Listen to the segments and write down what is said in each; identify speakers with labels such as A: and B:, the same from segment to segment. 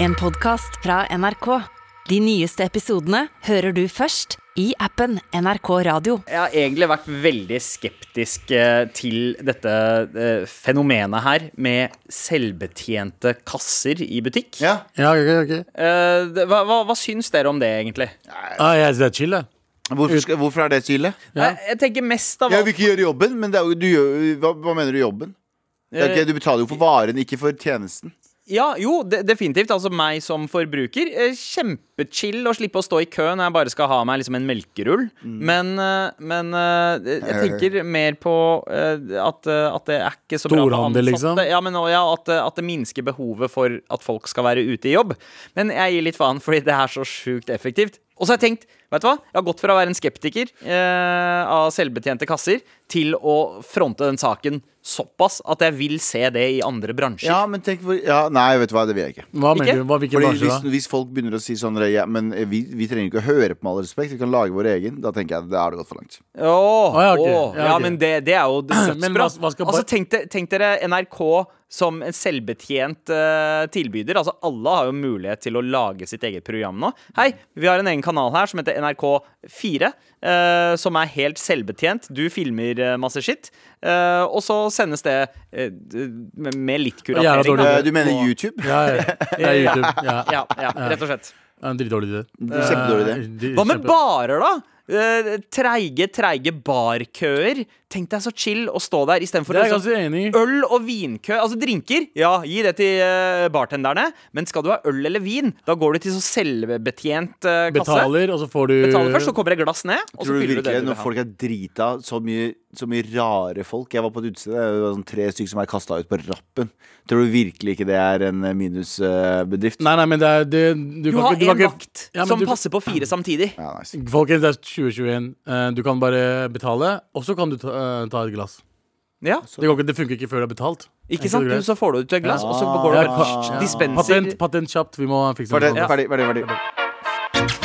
A: En podcast fra NRK. De nyeste episodene hører du først i appen NRK Radio.
B: Jeg har egentlig vært veldig skeptisk eh, til dette eh, fenomenet her med selvbetjente kasser i butikk.
C: Ja.
D: Ja, ok, ok.
B: Eh, det- hva, hva, hva syns dere om det, egentlig?
D: Ah, ja, så det er chill, det.
C: Hvorfor, skal, hvorfor er det Chile?
D: Ja.
B: Eh, Jeg, jeg tenker mest av
C: Jeg vil ikke gjøre jobben, men det er, jo- du gjør, hva, hva mener du jobben? Det er ikke, du betaler jo for varen, ikke for tjenesten.
B: Ja, jo, de, definitivt. Altså meg som forbruker. eh, Kjempechill å slippe å stå i kø når jeg bare skal ha meg liksom en melkerull. Men, eh, men eh, jeg tenker mer på eh, at, eh, at det er ikke så bra for ansatte.
D: Storhandel, liksom?
B: Ja, men og, ja, at, eh, at det minsker behovet for at folk skal være ute i jobb. Men jeg gir litt faen, fordi det er så sjukt effektivt. Og så har jeg tenkt, vet du hva? Jeg har gått fra å være en skeptiker eh, av selvbetjente kasser til å fronte den saken såpass at jeg vil se det i andre bransjer.
C: Ja, men tenk hvor ja, Nei, vet du hva, det vil jeg ikke.
D: Hva
B: Ikke?
D: mener du? Hva, hvilken
C: Fordi
D: bransje
C: hvis,
D: da?
C: hvis folk begynner å si sånn ja, Men vi, vi trenger ikke å høre på med all respekt, vi kan lage vår egen. Da tenker jeg da har det gått for langt.
B: Åh,
D: Å, ja, ok.
B: åh.
D: Ja,
B: ja,
D: ok.
B: men det, det er jo
D: Men
B: dødsbra.
D: hva- hva skal
B: altså,
D: bare-
B: tenk, de- tenk dere NRK som en selvbetjent eh, tilbyder. Altså, alle har jo mulighet til å lage sitt eget program nå. Hei, vi har en egen kanal her som heter NRK4, eh, som er helt selvbetjent. Du filmer eh, masse skitt, eh, og så sendes det eh, d- med- med litt
D: Jævla
B: kuratering.
D: dårlig.
B: da.
C: Eh, Du mener YouTube?
D: Ja, ja. Det er YouTube. Ja.
B: Ja, ja, rett og slett.
D: Det er En dritdårlig idé.
C: Kjempedårlig idé.
D: Eh, de-
B: Hva med
D: kjempe-
B: barer, da? Eh, treige, treige barkøer. Tenk deg så chill å stå der istedenfor
D: Det er jeg
B: liksom-
D: ganske enig i.
B: Øl og vinkø, altså drinker, ja, gi det til eh, bartenderne. Men skal du ha øl eller vin, da går du til så selvbetjent eh, kasse.
D: Betaler, og så får du
B: Betaler først, så kommer det glass ned, og så
C: Tror du
B: fyller du det
C: virkelig
B: du vil
C: når
B: ha.
C: folk er drita, så mye, så mye rare folk Jeg var på et utested, det var sånn tre stykker som er kasta ut på rappen. Tror du virkelig ikke det er en eh, minusbedrift?
D: Nei, nei, men det er det, du,
B: Du
D: kan
B: har
D: ikke, du kan
B: en
D: ikke
B: vakt
D: Ja, men
B: som
D: du-
B: passer på fire samtidig.
C: Ja, nice.
D: Folkens, det er 2021. Eh, Du kan bare betale, og så kan du ta, eh, ta et glass.
B: Ja,
D: Det, går ikke, det funker ikke før du har betalt.
B: ikke
D: Enkelt
B: sant?
D: og greit.
B: Så
D: Ah.
B: får du ut et glass, og så går det
D: Ja,
B: bare
D: pa- ja.
B: dispenser.
D: Patent, patent kjapt. Vi må fikse
C: Ferdig,
D: det.
C: ferdig, ferdig, ferdig.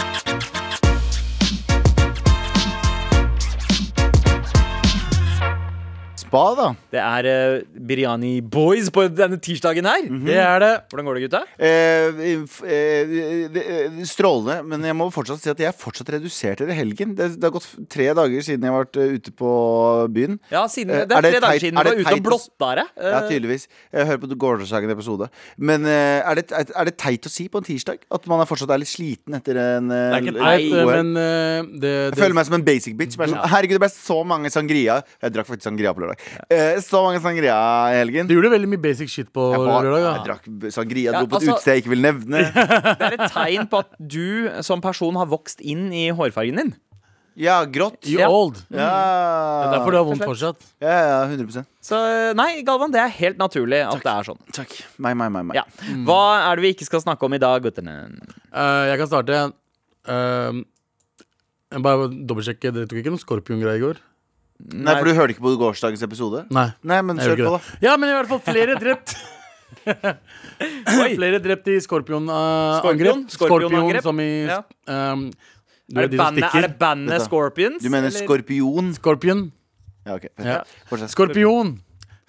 C: Spa, da.
B: Det er eh, Biryani Boys på denne tirsdagen her.
D: Det er det.
B: Hvordan går det, gutta?
C: Eh, f- eh, det- eh, strålende, men jeg må fortsatt si at jeg er fortsatt redusert i helgen. Det, det har gått f- tre dager siden jeg har vært eh, ute på byen.
B: Ja, siden,
C: Eh,
B: Det er,
C: er det
B: tre dager
C: teit-
B: siden
C: er
B: du
C: det
B: var ute og
C: teit-
B: blotta deg.
C: Ja,
B: Eh,
C: tydeligvis. Jeg hører på gårsdagens episode. Men eh, er det, er det teit å si på en tirsdag? At man er fortsatt er litt sliten etter en eh,
D: Det er ikke
C: l-
D: teit,
C: god helg?
D: men eh, det,
C: Jeg
D: det
C: føler meg som en basic bitch. Men jeg er sånn, Herregud, det ble så mange sangria. Jeg drakk faktisk sangria på lørdag. Eh, så mange sangria i helgen.
D: Du gjorde veldig mye basic shit på
C: jeg, var,
D: lørdag.
C: jeg
D: da.
C: drakk b- sangria,
B: Ja,
C: dro på et
B: altså-
C: utested jeg ikke vil nevne.
B: Eh, Det er et tegn på at du som person har vokst inn i hårfargen din.
C: Ja, grått.
D: You
B: Ja.
D: old. Det
C: Ja,
D: er derfor du har vondt fortsatt.
C: ja, ja 100
B: Så eh, nei, Galvan, det er helt naturlig at det er sånn.
C: Takk. Mm. Meg, meg, meg. meg.
B: Ja. Hva er det vi ikke skal snakke om i dag, guttene?
D: Eh, jeg kan starte. Eh, jeg bare dobbeltsjekke. Dere tok ikke noen skorpiongreier i går?
C: Nei, for du hørte ikke på gårsdagens episode?
D: Nei.
C: Nei, men
D: Jeg
C: kjør
D: gjorde
C: på,
D: ikke
C: da.
D: det. Ja, men i hvert fall flere drept. flere drept i skorpionangrep.
B: Skorpion? Skorpionangrep?
D: som i
B: Ja.
D: ehm, du
B: Er det
D: vet de som
B: bandet, er
D: stikker.
B: det bandet
C: Dette.
B: Scorpions?
C: Du mener
B: eller?
C: skorpion?
D: Skorpion.
C: Ja, ok.
D: Ja.
C: Fortsett.
D: Skorpion.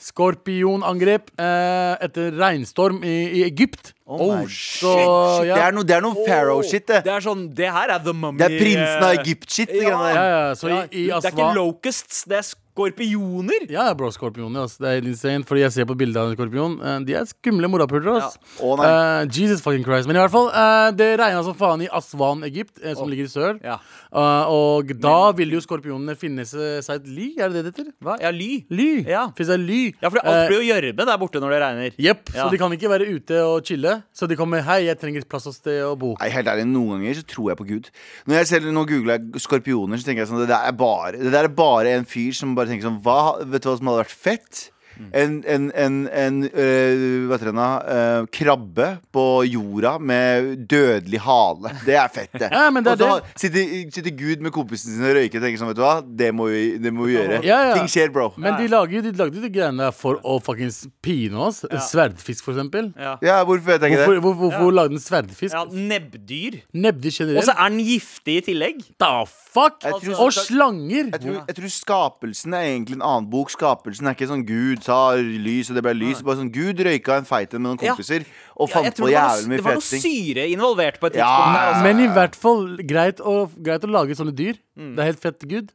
D: Skorpionangrep eh, etter regnstorm i, i Egypt.
C: Oh, my
D: Så
C: shit.
D: ja.
C: Det er noe, det er noe pharaoh-shit, det.
B: Det er sånn, det her er The Mummy.
C: Det er prinsen av
B: eh,
C: Egypt-shit.
B: ja.
C: det greiene der.
D: ja, ja, så i,
B: ja,
D: i
B: det er ikke
D: Aswan-
B: locusts, det er skorpioner.
D: Ja, bro, skorpioner. ass. Det er helt insane. Fordi jeg ser på bildet av en skorpion. Eh, De er skumle morapulere. ass.
C: Å, nei.
D: Eh, Jesus fucking Christ. Men i hvert fall, eh, det regna som faen i Aswan, Egypt, eh, som ligger i sør.
B: Ja.
D: Eh, og da vil jo skorpionene finne se- seg et ly, er det det det heter?
B: Hva? Ja, ly.
D: Ly.
B: Ja.
D: Finne seg et ly. Eh,
B: Ja, for alt blir jo gjørme der borte når det regner.
D: Jepp,
B: Eh, Ja.
D: så de kan ikke være ute og chille. Så de kommer Hei, jeg trenger et plass og sted å bo.
C: Nei, helt ærlig, Noen ganger så tror jeg på Gud. Når jeg selv, nå googler jeg skorpioner, så tenker jeg sånn Det der er bare, det der er bare en fyr som bare tenker sånn hva, Vet du hva som hadde vært fett?
D: Mm.
C: En, en, en, en øh, hva heter den da? Øh, krabbe på jorda med dødelig hale. Det er fett, det.
D: Ja, men det er
C: og så sitter, sitter Gud med kompisene sine og røyker og tenker sånn Vet du hva, det må vi, det må vi gjøre.
D: Ja, ja.
C: Ting skjer, bro.
D: Men de lager jo de lagde jo de greiene der for å fuckings pine oss. Sverdfisk, for eksempel.
B: Ja.
C: Ja, hvorfor vet jeg ikke
D: Hvorfor,
C: det?
D: hvor, hvorfor lagde den sverdfisk?
B: Ja, nebbdyr.
D: Nebbdyr generelt.
B: Og så er den giftig i tillegg.
D: the fuck?
C: Jeg tror-
D: og slanger!
C: Jeg tror, jeg tror Skapelsen er egentlig en annen bok. Skapelsen er ikke sånn Gud sa lys, og det ble lys. Bare sånn, Gud røyka en feit en med noen
B: Ja.
C: kompiser og
B: Ja,
C: fant
B: jeg tror
C: på
B: det var
C: jævlig
B: noe,
C: mye
B: det var noe
C: fete ting.
B: syre involvert på et
C: Ja.
B: tidspunkt. der, altså.
D: Men i hvert fall greit å, greit å lage sånne dyr.
C: Mm.
D: Det er helt fett good.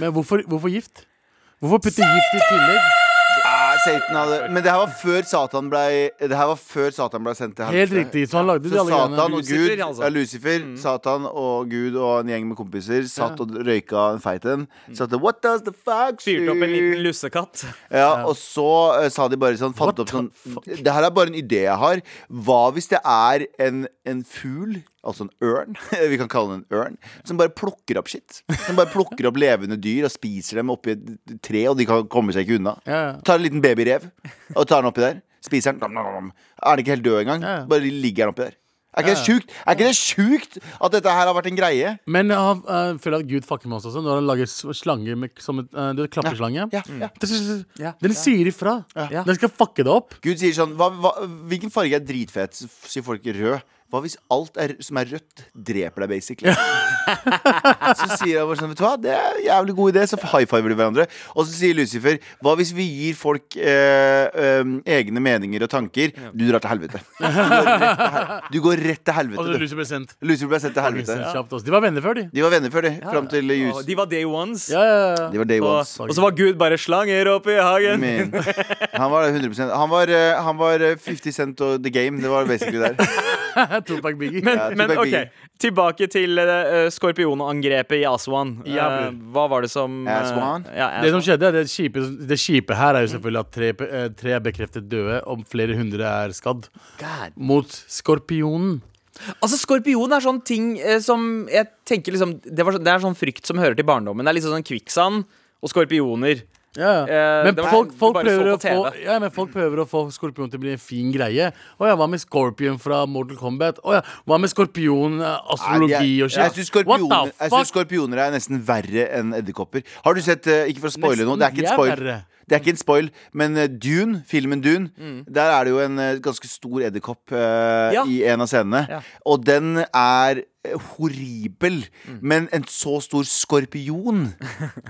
D: Men hvorfor, hvorfor gift? Hvorfor putte gift i tillegg?
C: Ja, Satan hadde, men det her var før Satan ble, det her var før Satan ble sendt til
D: Helt
C: helvete.
D: riktig. Så han lagde
C: Så
D: de alle
C: Satan
D: greiene.
C: og
B: Lucifer,
C: Gud,
B: altså.
C: ja, Lucifer, Satan og Gud og en gjeng med kompiser satt og røyka en feit en. Satt og, What does the fuck
B: Mm. Fyrte opp en
C: do?"
B: liten lussekatt.
C: Ja, og så eh, sa de bare sånn Fant opp sånn Det her er bare en idé jeg har Hva hvis det er en, en ful Altså en ørn Vi kan kalle den en ørn Som bare plukker opp shit Som bare plukker opp levende dyr Og spiser dem oppi et tre Og de kan komme seg ikke unna
D: Ja, ja.
C: Tar en liten babyrev Og tar den oppi der Spiser den nom, nom, nom. Er den ikke helt død engang
D: Ja, ja.
C: Bare ligger den oppi der Er ikke det sjukt? Er ikke det sjukt at dette her har vært en greie?
D: Men jeg eh, føler at Gud fucker med oss også når han lager s- slanger med som et, eh, det er klapperslange.
C: Ja, ja.
D: Det- det-
B: Ja.
D: det- Den sier ifra.
B: Ja.
D: Den skal fucke det opp.
C: Gud sier sånn hva, hva, Hvilken farge er dritfett? Så f- Sier folk rød. Hva hvis alt er, som er rødt, dreper deg, basically? så sier han bare sånn Vet du hva, det er en jævlig god idé. Så high fiver de hverandre. Og så sier Lucifer Hva hvis vi gir folk eh, em, egne meninger og tanker? Du drar til helvete. Du går rett til hel- Du går rett til
D: Og så
C: helvete. du.
D: Lucifer Altså, ble sendt.
C: Lucifer ble sendt til helvete.
D: Kjapt også. De var venner før, de.
C: De var venner før, de. Fram til
B: Og
C: jus.
B: De var day ones.
D: Ja, ja, ja.
C: De var day
B: Og,
C: ones.
B: og så var Gud bare slanger oppe i hagen.
C: Men, han var 100 Han var, eh, han var eh, 50 Cent og The Game. Det var basically der.
D: Tupac Biggie.
B: Men,
C: Ja,
B: men
C: Tupac
B: ok,
C: Biggie.
B: tilbake til eh, skorpionangrepet i Aswan. Eh,
D: Jævlig.
B: hva var det som eh,
C: Aswan?
B: Ja,
D: det som skjedde, er det kjipe, det kjipe her er jo selvfølgelig at tre, pe- eh, tre er bekreftet døde, og flere hundre er skadd. Mot skorpionen.
B: Altså, Skorpion er sånn ting eh, som jeg tenker liksom det, var, så- det er sånn frykt som hører til barndommen. Det er liksom sånn kvikksand og skorpioner.
D: Ja,
B: Eh,
D: ja. Men
B: det var-
D: folk,
B: du
D: folk,
B: bare
D: prøver
B: så
D: å
B: på
D: få,
B: TV.
D: ja, men folk prøver å få Skorpion til å bli en fin greie. Å ja, hva med Scorpion fra Mortal Kombat? Å ja, hva med Skorpion, eh, astrologi
C: Nei, jeg-
D: og
C: Jeg
D: shit?
C: syns skorpioner,
D: What the
C: jeg synes
D: fuck?
C: skorpioner er nesten verre enn edderkopper. Har du sett eh, Ikke for å spoile noe, det er ikke en
D: Nesten, de er
C: spoil.
D: verre.
C: Det er ikke en spoil, men eh, Dune, filmen Dune,
D: Mm.
C: der er det jo en eh, ganske stor edderkopp eh,
B: Ja.
C: i en av scenene.
B: Ja.
C: Og den er eh, horribel.
D: Mm.
C: Men en så stor skorpion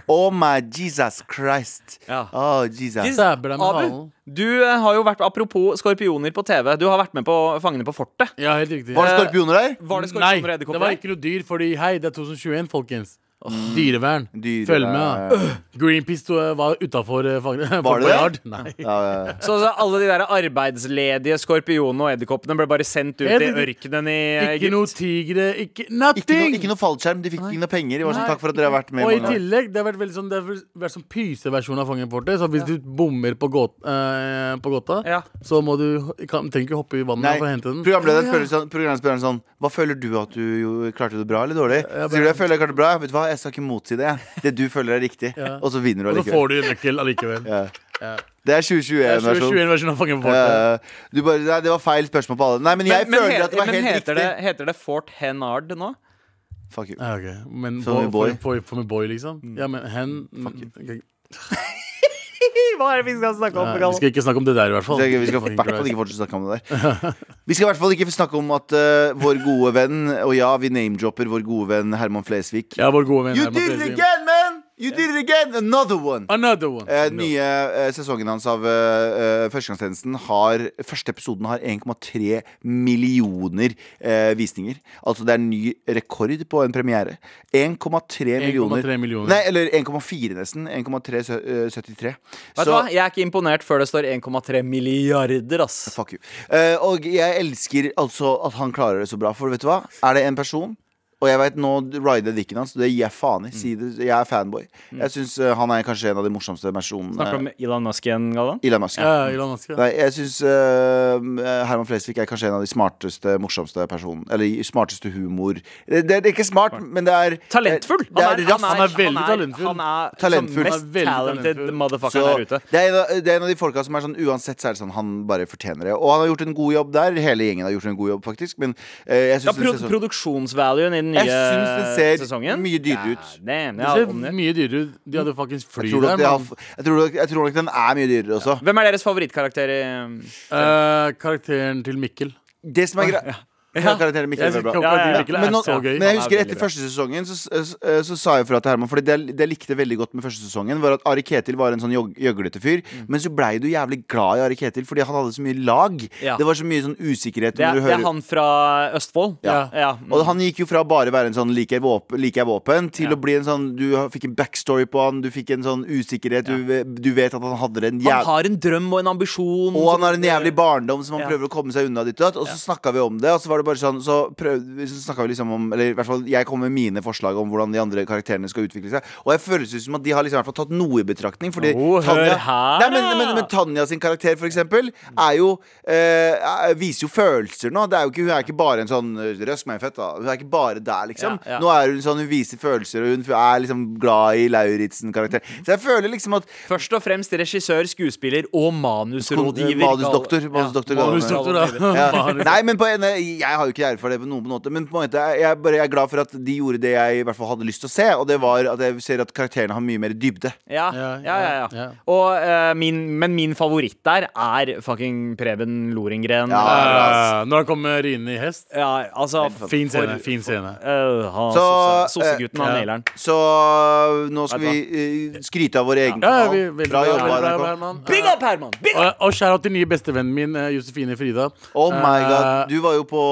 C: Oh my Jesus Christ.
B: Ja.
C: Oh, Jesus.
D: Stabber deg med
B: Abu,
D: halen.
B: du eh, har jo vært Apropos skorpioner på TV. Du har vært med på Fangene på fortet.
D: Ja, helt riktig.
C: Var det skorpioner der?
B: Var det skorpioner
D: Nei,
B: og
D: det
B: edderkopper?
D: var ikke noe dyr, fordi hei, det er 2021, folkens. Dyrevern.
C: Dyrevern.
D: Følg med. da. Greenpeace sto, var eh, utafor
C: Var det
D: Nei.
C: Ja, ja.
B: Så, så alle de der arbeidsledige skorpionene og edderkoppene ble bare sendt ut i
D: Jeg vet ikke-
B: ørkenen i
D: Ikke noe tigre,
C: Ikke
D: ikke
C: noe,
D: Nothing!
C: ikke noe fallskjerm. De fikk ikke noe penger. De var sånn,
D: Nei.
C: takk for at dere har vært med.
D: Og i
C: mange år."
D: tillegg, det har vært veldig sånn Det har vært sånn pyseversjon av Fangen Forte. Så hvis du bommer på, gåt, eh, på gåta,
B: Ja.
D: så må du kan, trenger ikke hoppe i vannet for å hente den.
C: Programlederen spør sånn, programlederen spør sånn Hva føler du at du jo, klarte det bra eller dårlig?
D: Jeg bare-
C: Sier du jeg føler jeg klarte det bra? Vet du hva, jeg skal ikke motsi det. jeg. Det du føler er riktig. Og så vinner du
D: Og så
C: allikevel.
D: får du nøkkel allikevel.
C: Ja.
D: Ja.
C: Det er
D: Det er
C: 2021-versjon.
D: 2021-versjonen av Fangen Forte.
C: du bare, nei, det var feil spørsmål på alle. Nei, men jeg
B: men, men,
C: føler
B: he-
C: at det var
B: men
C: helt
B: heter,
C: riktig.
B: det, heter det Fort Henard nå?
C: Fuck you.
D: Ja, ok. Men
C: Som en
D: bo-
C: boy. Mm.
D: for, for, for min boy, liksom? Ja, men hen Ok.
B: Hva er det vi skal snakke
D: Nei, Vi skal ikke snakke om det der, i hvert fall.
C: Så jeg- Vi skal i hvert fall ikke fortsette å snakke om det der. Vi skal i hvert fall ikke snakke om at eh, vår gode venn Og ja, vi name-dropper vår gode venn Herman Flesvig.
D: Ja, vår gode venn
C: You
D: Herman
C: did it
D: Flesvig.
C: again, man! You did it again! Another one!
D: Another one.
C: Eh, nye eh, sesongen hans av eh, eh, Førstegangstjenesten har Første episoden har 1,3 millioner eh, visninger. Altså det er ny rekord på en premiere. 1,3 millioner.
D: 1,3 millioner.
C: Nei, eller 1,4 nesten. 1,373.
B: Vet du hva? Jeg er ikke imponert før det står 1,3 milliarder, ass.
C: Fuck you. Eh, og jeg elsker altså at han klarer det så bra, for vet du hva? Er det en person og jeg vet nå rider dikken hans. Det gir jeg faen i.
B: Mm.
C: Si det. Jeg er fanboy. Jeg syns han er kanskje en av de morsomste
B: Snakker du
C: versjonene.
B: Mm. om Elon Musk igjen, Galvan?
D: Eh,
C: Elon Musk.
D: Ja, Elon Musk. ja.
C: Nei, jeg syns øh, Herman Flesvig er kanskje en av de smarteste, morsomste personene. Eller smarteste humor. Det, det, det er ikke smart, men det er
B: Talentfull!
C: Det er raskt.
D: Han er veldig talentfull.
B: Han er
C: Talentfull.
B: talentfull.
D: Han
B: mest
D: er veldig
B: talented
D: talentfull.
C: Så
B: motherfucker der ute.
C: det, er en av, det er en av de folka som er sånn uansett så er det sånn han bare fortjener det. Og han har gjort en god jobb der. Hele gjengen har gjort en god jobb, faktisk. Men øh, jeg
B: Ja,
C: syns
B: pro
C: den ser,
B: Produksjonsvaluen i den
C: så, jeg
B: nye
C: synes den ser
B: sesongen
C: mye dyrere ut.
B: Ja, damn,
D: Det
B: ja,
D: ser
B: om det.
D: mye dyrere ut. De hadde faktisk fly
C: Jeg tror, nok
D: der.
C: de har,
D: men-
C: jeg, tror nok, jeg tror nok den er mye dyrere også.
B: Hvem er deres favorittkarakter i
D: Eh, karakteren til Mikkel.
C: Det som er greit Karakteren Mikkel
D: Jeg
C: var bra.
D: synes
B: Ja, ja, ja.
D: krokodille
C: Men,
D: er
C: nå,
D: så gøy.
C: men
B: Han
C: jeg
B: er
C: husker
B: veldig
C: etter
B: bra.
C: første sesongen så, så, så sa jeg fra til Herman Fordi det, jeg- det jeg likte veldig godt med første sesongen, var at Ari Ketil var en sånn jog- gjøglete fyr.
B: Mm.
C: Men så blei du jævlig glad i Ari Ketil fordi han hadde så mye lag.
B: Ja.
C: Det var så mye sånn usikkerhet.
B: Det er,
C: når du
B: det
C: hører
B: er han fra Østfold.
D: Ja.
B: ja.
C: og han gikk jo fra bare å være en sånn liker jeg våpen, liker jeg våpen til
B: Ja.
C: å bli en sånn Du fikk en backstory på han, du fikk en sånn usikkerhet, du, du vet at han hadde en
B: Han
C: jævlig
B: har en drøm og en ambisjon.
C: Og han
B: som-
C: har en jævlig barndom som han
B: Ja.
C: prøver å komme seg unna. Ditt, og datt, og så snakka vi om det, og så var det bare sånn Så, prøvde, så snakket vi liksom om Eller i hvert fall jeg kom med mine forslag om hvordan de andre karakterene skal utvikle seg. Og jeg føles ut som at de har liksom i hvert fall tatt noe i betraktning. Fordi
D: Oh, hør
C: Tanja,
B: her,
C: nei, men,
B: da!
C: men, men Tanja sin karakter, for eksempel, er jo eh, er- Viser jo følelser nå. Det er jo ikke, hun er ikke bare en sånn Røsk meg i fett, da. Hun er ikke bare der, liksom.
B: Ja, ja.
C: Nå er hun sånn, hun viser følelser, og hun er liksom glad i Lauritzen-karakteren. Så jeg føler liksom at
B: Først og fremst regissør, skuespiller og manusrådgiver.
C: Manusdoktor,
B: Ja,
C: manusdoktor,
D: Manusdoktor, da.
C: ja. Nei, men på en, jeg har jo ikke ære for det på noen måte, men på en måte, jeg, er bare, jeg er glad for at de gjorde det jeg i hvert fall hadde lyst til å se, og det var at jeg ser at karakterene har mye mer dybde.
B: Ja, ja,
D: Ja,
B: ja, ja.
D: ja.
B: Og, eh, min, men min favoritt der er fucking Preben Lorengren.
C: Ja.
B: Eh,
D: Eh, Når han kommer med riende i hest.
B: ja altså
D: Fin scene. fin scene
B: Uh, han,
C: Så,
B: sosse- Sossegutten, han
D: eh,
B: naileren.
C: Så nå skal vi eh, skryte av vår egen
D: Ja,
C: kanal.
D: vi, veldig
C: Bra jobba,
D: bra, bra,
C: NRK.
D: Herman.
B: Big
D: Eh,
B: up, Herman! Big up!
D: Og, og kjære til nye bestevennen min, eh, Josefine Frida.
C: Oh my god,
D: Eh,
C: du var jo på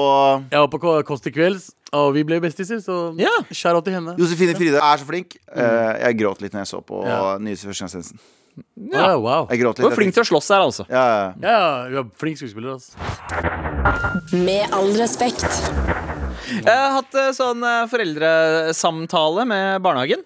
D: Jeg var på K- Kåss til kvelds, og vi ble bestiser, så
B: Ja.
D: kjære til henne.
C: Josefine Frida er så flink. Eh, jeg gråt litt når jeg så på
D: Mm. Ja.
C: Nyhetsførst Kristiansen.
D: Ja, wow.
C: Jeg gråt
B: Du
C: litt.
B: var flink til å slåss her, altså.
C: ja, ja.
D: Ja, hun er flink skuespiller, altså.
E: Med all respekt.
B: Jeg har hatt eh, sånn eh, foreldresamtale med barnehagen.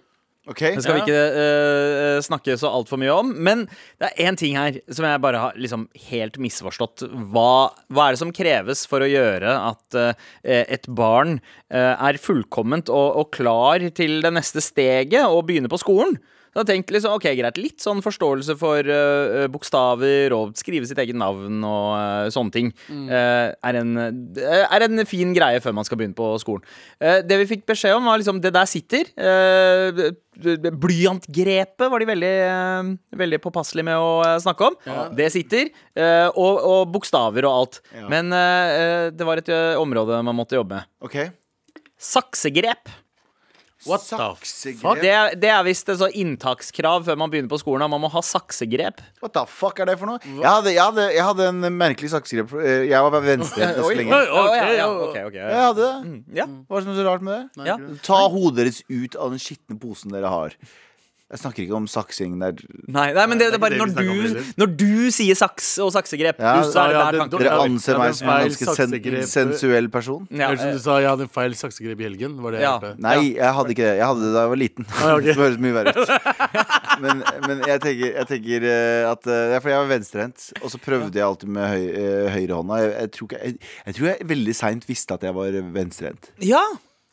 C: Ok.
B: Det skal vi ikke eh, snakke så altfor mye om. Men det er én ting her som jeg bare har liksom helt misforstått. Hva, hva er det som kreves for å gjøre at eh, et barn eh, er fullkomment og, og klar til det neste steget og begynner på skolen? Da tenk liksom, ok, greit, Litt sånn forståelse for eh, bokstaver og skrive sitt eget navn og eh, sånne ting eh, er, en, eh, er en fin greie før man skal begynne på skolen. Eh, det vi fikk beskjed om, var liksom det der sitter. eh, Blyantgrepet var de veldig, eh, veldig påpasselige med å eh, snakke om. Det sitter. eh, Og, og bokstaver og alt.
C: Ja.
B: Men eh, eh, det var et eh, område man måtte jobbe med.
C: Ok.
B: Saksegrep.
D: What the
C: Saksegrep.
B: Det, er- det er visst et sånt inntakskrav før man begynner på skolen. at Man må ha saksegrep.
C: What the fuck er det for noe? Jeg hadde, jeg hadre, jeg hadde en merkelig saksegrep. Eh, Jeg var venstrehendt så lenge.
D: Oi,
B: Å, ja, ja, Mm.
D: ok,
B: ok, ok,
C: Jeg
B: ja.
C: hadde det.
D: Mm.
B: Ja.
C: Hva er det som er så rart med det?
B: Ja.
C: Ta hodet deres ut av den skitne posen dere har. Jeg snakker ikke om saksing der.
B: Nei, nei, men det, det er bare
D: det
B: når
D: vi snakker om
B: du,
D: heller.
B: når du sier saks og saksegrep,
C: Ja,
B: du, så er det
D: ja,
B: der
D: det-
B: tanken
C: Dere
D: Ja,
C: anser
D: ja,
C: meg
D: det er
C: som en
D: feil
C: ganske sen
D: saksegrep.
C: sensuell person.
B: Ja,
D: Eller som du sa, jeg hadde en feil saksegrep i helgen. Var det jeg
B: Ja.
D: hørte.
C: Nei, jeg hadde ikke det. Jeg hadde det da jeg var liten.
D: Ah, ok.
C: det høres mye verre ut. Men, men jeg tenker, jeg tenker eh, at eh, Det er fordi jeg var venstrehendt, og så prøvde jeg alltid med høy, eh, høyrehånda. Jeg, jeg, tror ikke- jeg, jeg tror jeg veldig seint visste at jeg var venstrehendt.
B: Ja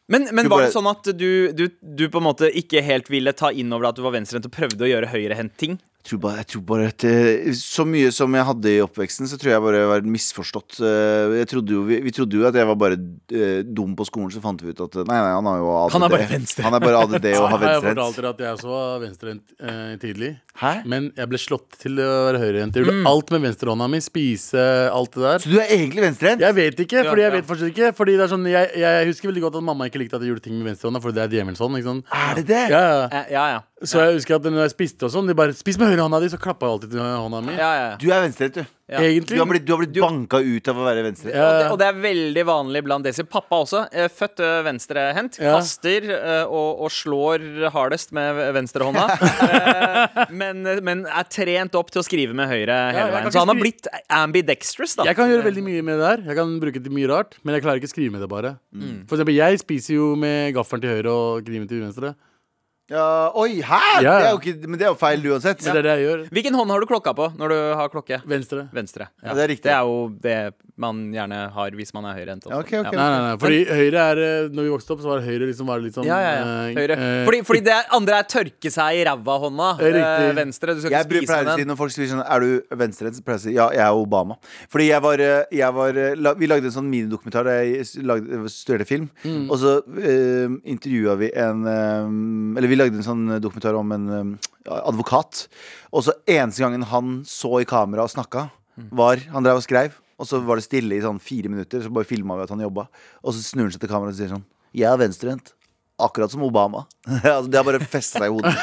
B: men, men
C: Du
B: var det
C: bare-
B: sånn at du, du, du på en måte ikke helt ville ta inn over deg at du var venstrehendt og prøvde å gjøre høyrehendt ting?
C: Jeg tror bare, jeg tror bare at eh, Så mye som jeg hadde i oppveksten, så tror jeg bare jeg var misforstått. Eh, Jeg trodde jo, vi, vi trodde jo at jeg var bare eh, dum på skolen, så fant vi ut at eh, nei, nei, han har jo ADD.
B: Han er bare venstre.
C: Han er bare ADD og har
D: Nei, jeg fortalte
C: venstrehendt.
D: dere at jeg også var venstrehendt eh, tidlig.
C: Hæ?
D: Men jeg ble slått til å være høyrehendt. Jeg gjorde alt med venstrehånda mi. Spise, alt det der.
C: Så du er egentlig venstrehendt?
D: Jeg vet ikke, fordi jeg
B: ja.
D: vet fortsatt ikke. Fordi det er sånn, jeg, jeg husker veldig godt at mamma ikke likte at jeg gjorde ting med venstrehånda, for det er djevelens hånd. Ikke sant?
C: Er det det?
D: Ja, ja.
B: Eh, Ja, ja.
D: Så jeg husker at når jeg spiste og sånn, de bare 'Spis med høyrehånda di', så klappa jeg alltid til hånda mi.
B: ja, ja, ja.
C: Du er venstrehendt, du.
B: Ja.
C: Du
D: Egentlig.
C: har blitt, du har blitt banka ut av å være venstre.
B: Og det,
D: Ja.
B: og det er veldig vanlig blant desi. Pappa også. eh, Født eh, venstrehendt.
D: Ja.
B: Kaster eh, og, og slår hardest med venstrehånda. Eh, men, men er trent opp til å skrive med høyre hele
D: jeg kan
B: veien.
D: ikke
B: Så han har
D: skri-
B: blitt ambidextrous, da.
D: Jeg kan gjøre veldig mye med det der. Jeg kan bruke det til mye rart, men jeg klarer ikke å skrive med det bare. For eksempel, jeg spiser jo med gaffelen til høyre og kniven til venstre.
C: Ja, oi, hæ?!
D: Ja, ja.
C: Det er jo ikke, men det er jo feil uansett.
D: Så det er det jeg gjør.
B: Hvilken hånd har du klokka på når du har klokke?
D: Venstre.
B: Venstre.
C: Ja, det er riktig.
B: Det er jo det man gjerne har hvis man er høyrehendt. også.
C: Ok, ok,
D: Nei, nei, nei. Fordi høyre er eh, Når vi vokste opp, så var høyre liksom var litt sånn
B: Ja, ja, ja.
D: eh,
B: Høyre.
D: eh,
B: Fordi, fordi det andre er tørke seg i ræva-hånda.
D: Det er riktig.
B: Eh, Venstre. Du skal
C: Jeg
B: ikke
C: bru-
B: spise
C: pleier å
B: med
C: si
B: den.
C: når folk sier sånn Er du venstrehendt? Så pleier jeg å si ja, jeg er Obama. Fordi jeg var, eh, jeg var eh, la- Vi lagde en sånn minidokumentar da jeg s- lagde- studerte film.
B: Mm.
C: Og så uh, intervjua vi en eh, Eller vi lagde en sånn dokumentar om en eh,
B: Mm.
C: advokat. Og så eneste gangen han så i kamera og snakka, var Han drev og skrev. Og så var det stille i sånn fire minutter, så bare filma vi at han jobba. Og så snur han seg til kameraet og sier sånn Jeg er venstrehendt. Akkurat som Obama. altså, det har bare festa seg i hodet.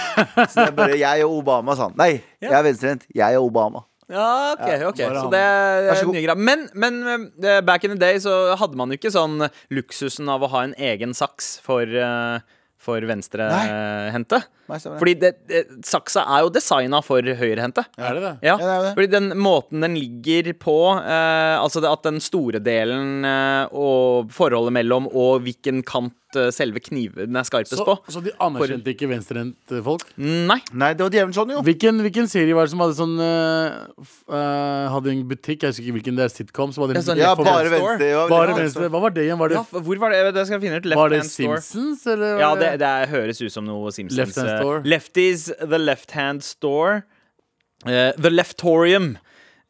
C: Så det er bare jeg og Obama, sa han. Nei, jeg er venstrehendt. Jeg og Obama.
B: Ja, ok, ok
D: bare
B: Så
D: han.
B: det
C: Vær
B: er
C: så god.
B: nye greier. Men, men eh, back in the day så hadde man jo ikke sånn luksusen av å ha en egen saks for, eh, for venstrehendte.
C: Nei, stemmer det.
B: Fordi det, det, saksa er jo designa for høyrehendte.
D: Er det det?
B: Ja,
C: Ja, det er det.
B: fordi den måten den ligger på, eh, altså det at den store delen eh, og forholdet mellom og hvilken kant eh, selve kniven er skarpest
D: Så,
B: på
D: så de anerkjente ikke venstrehendte folk?
B: Nei.
C: Nei, det var djevelen sånn, jo.
D: Hvilken, hvilken serie var det som hadde sånn eh, f- eh, Hadde en butikk, jeg husker ikke hvilken det er, sitcom som hadde
B: Ja,
D: en
B: sånn
D: butikk
C: Ja,
B: for
C: bare
B: venstre.
C: venstre. Ja,
D: Bare
C: ja,
D: venstre. Hva var det igjen? Var det,
B: Ja, hvor var det? Det skal jeg finne ut. Left
D: var det
B: Hand Store.
D: Simpsons, eller?
B: Ja, det, det er- høres ut som noe Simpsons.
D: Left Hand
B: eh,
D: Store.
B: Lefties, The Left Hand Store. eh, the Leftorium.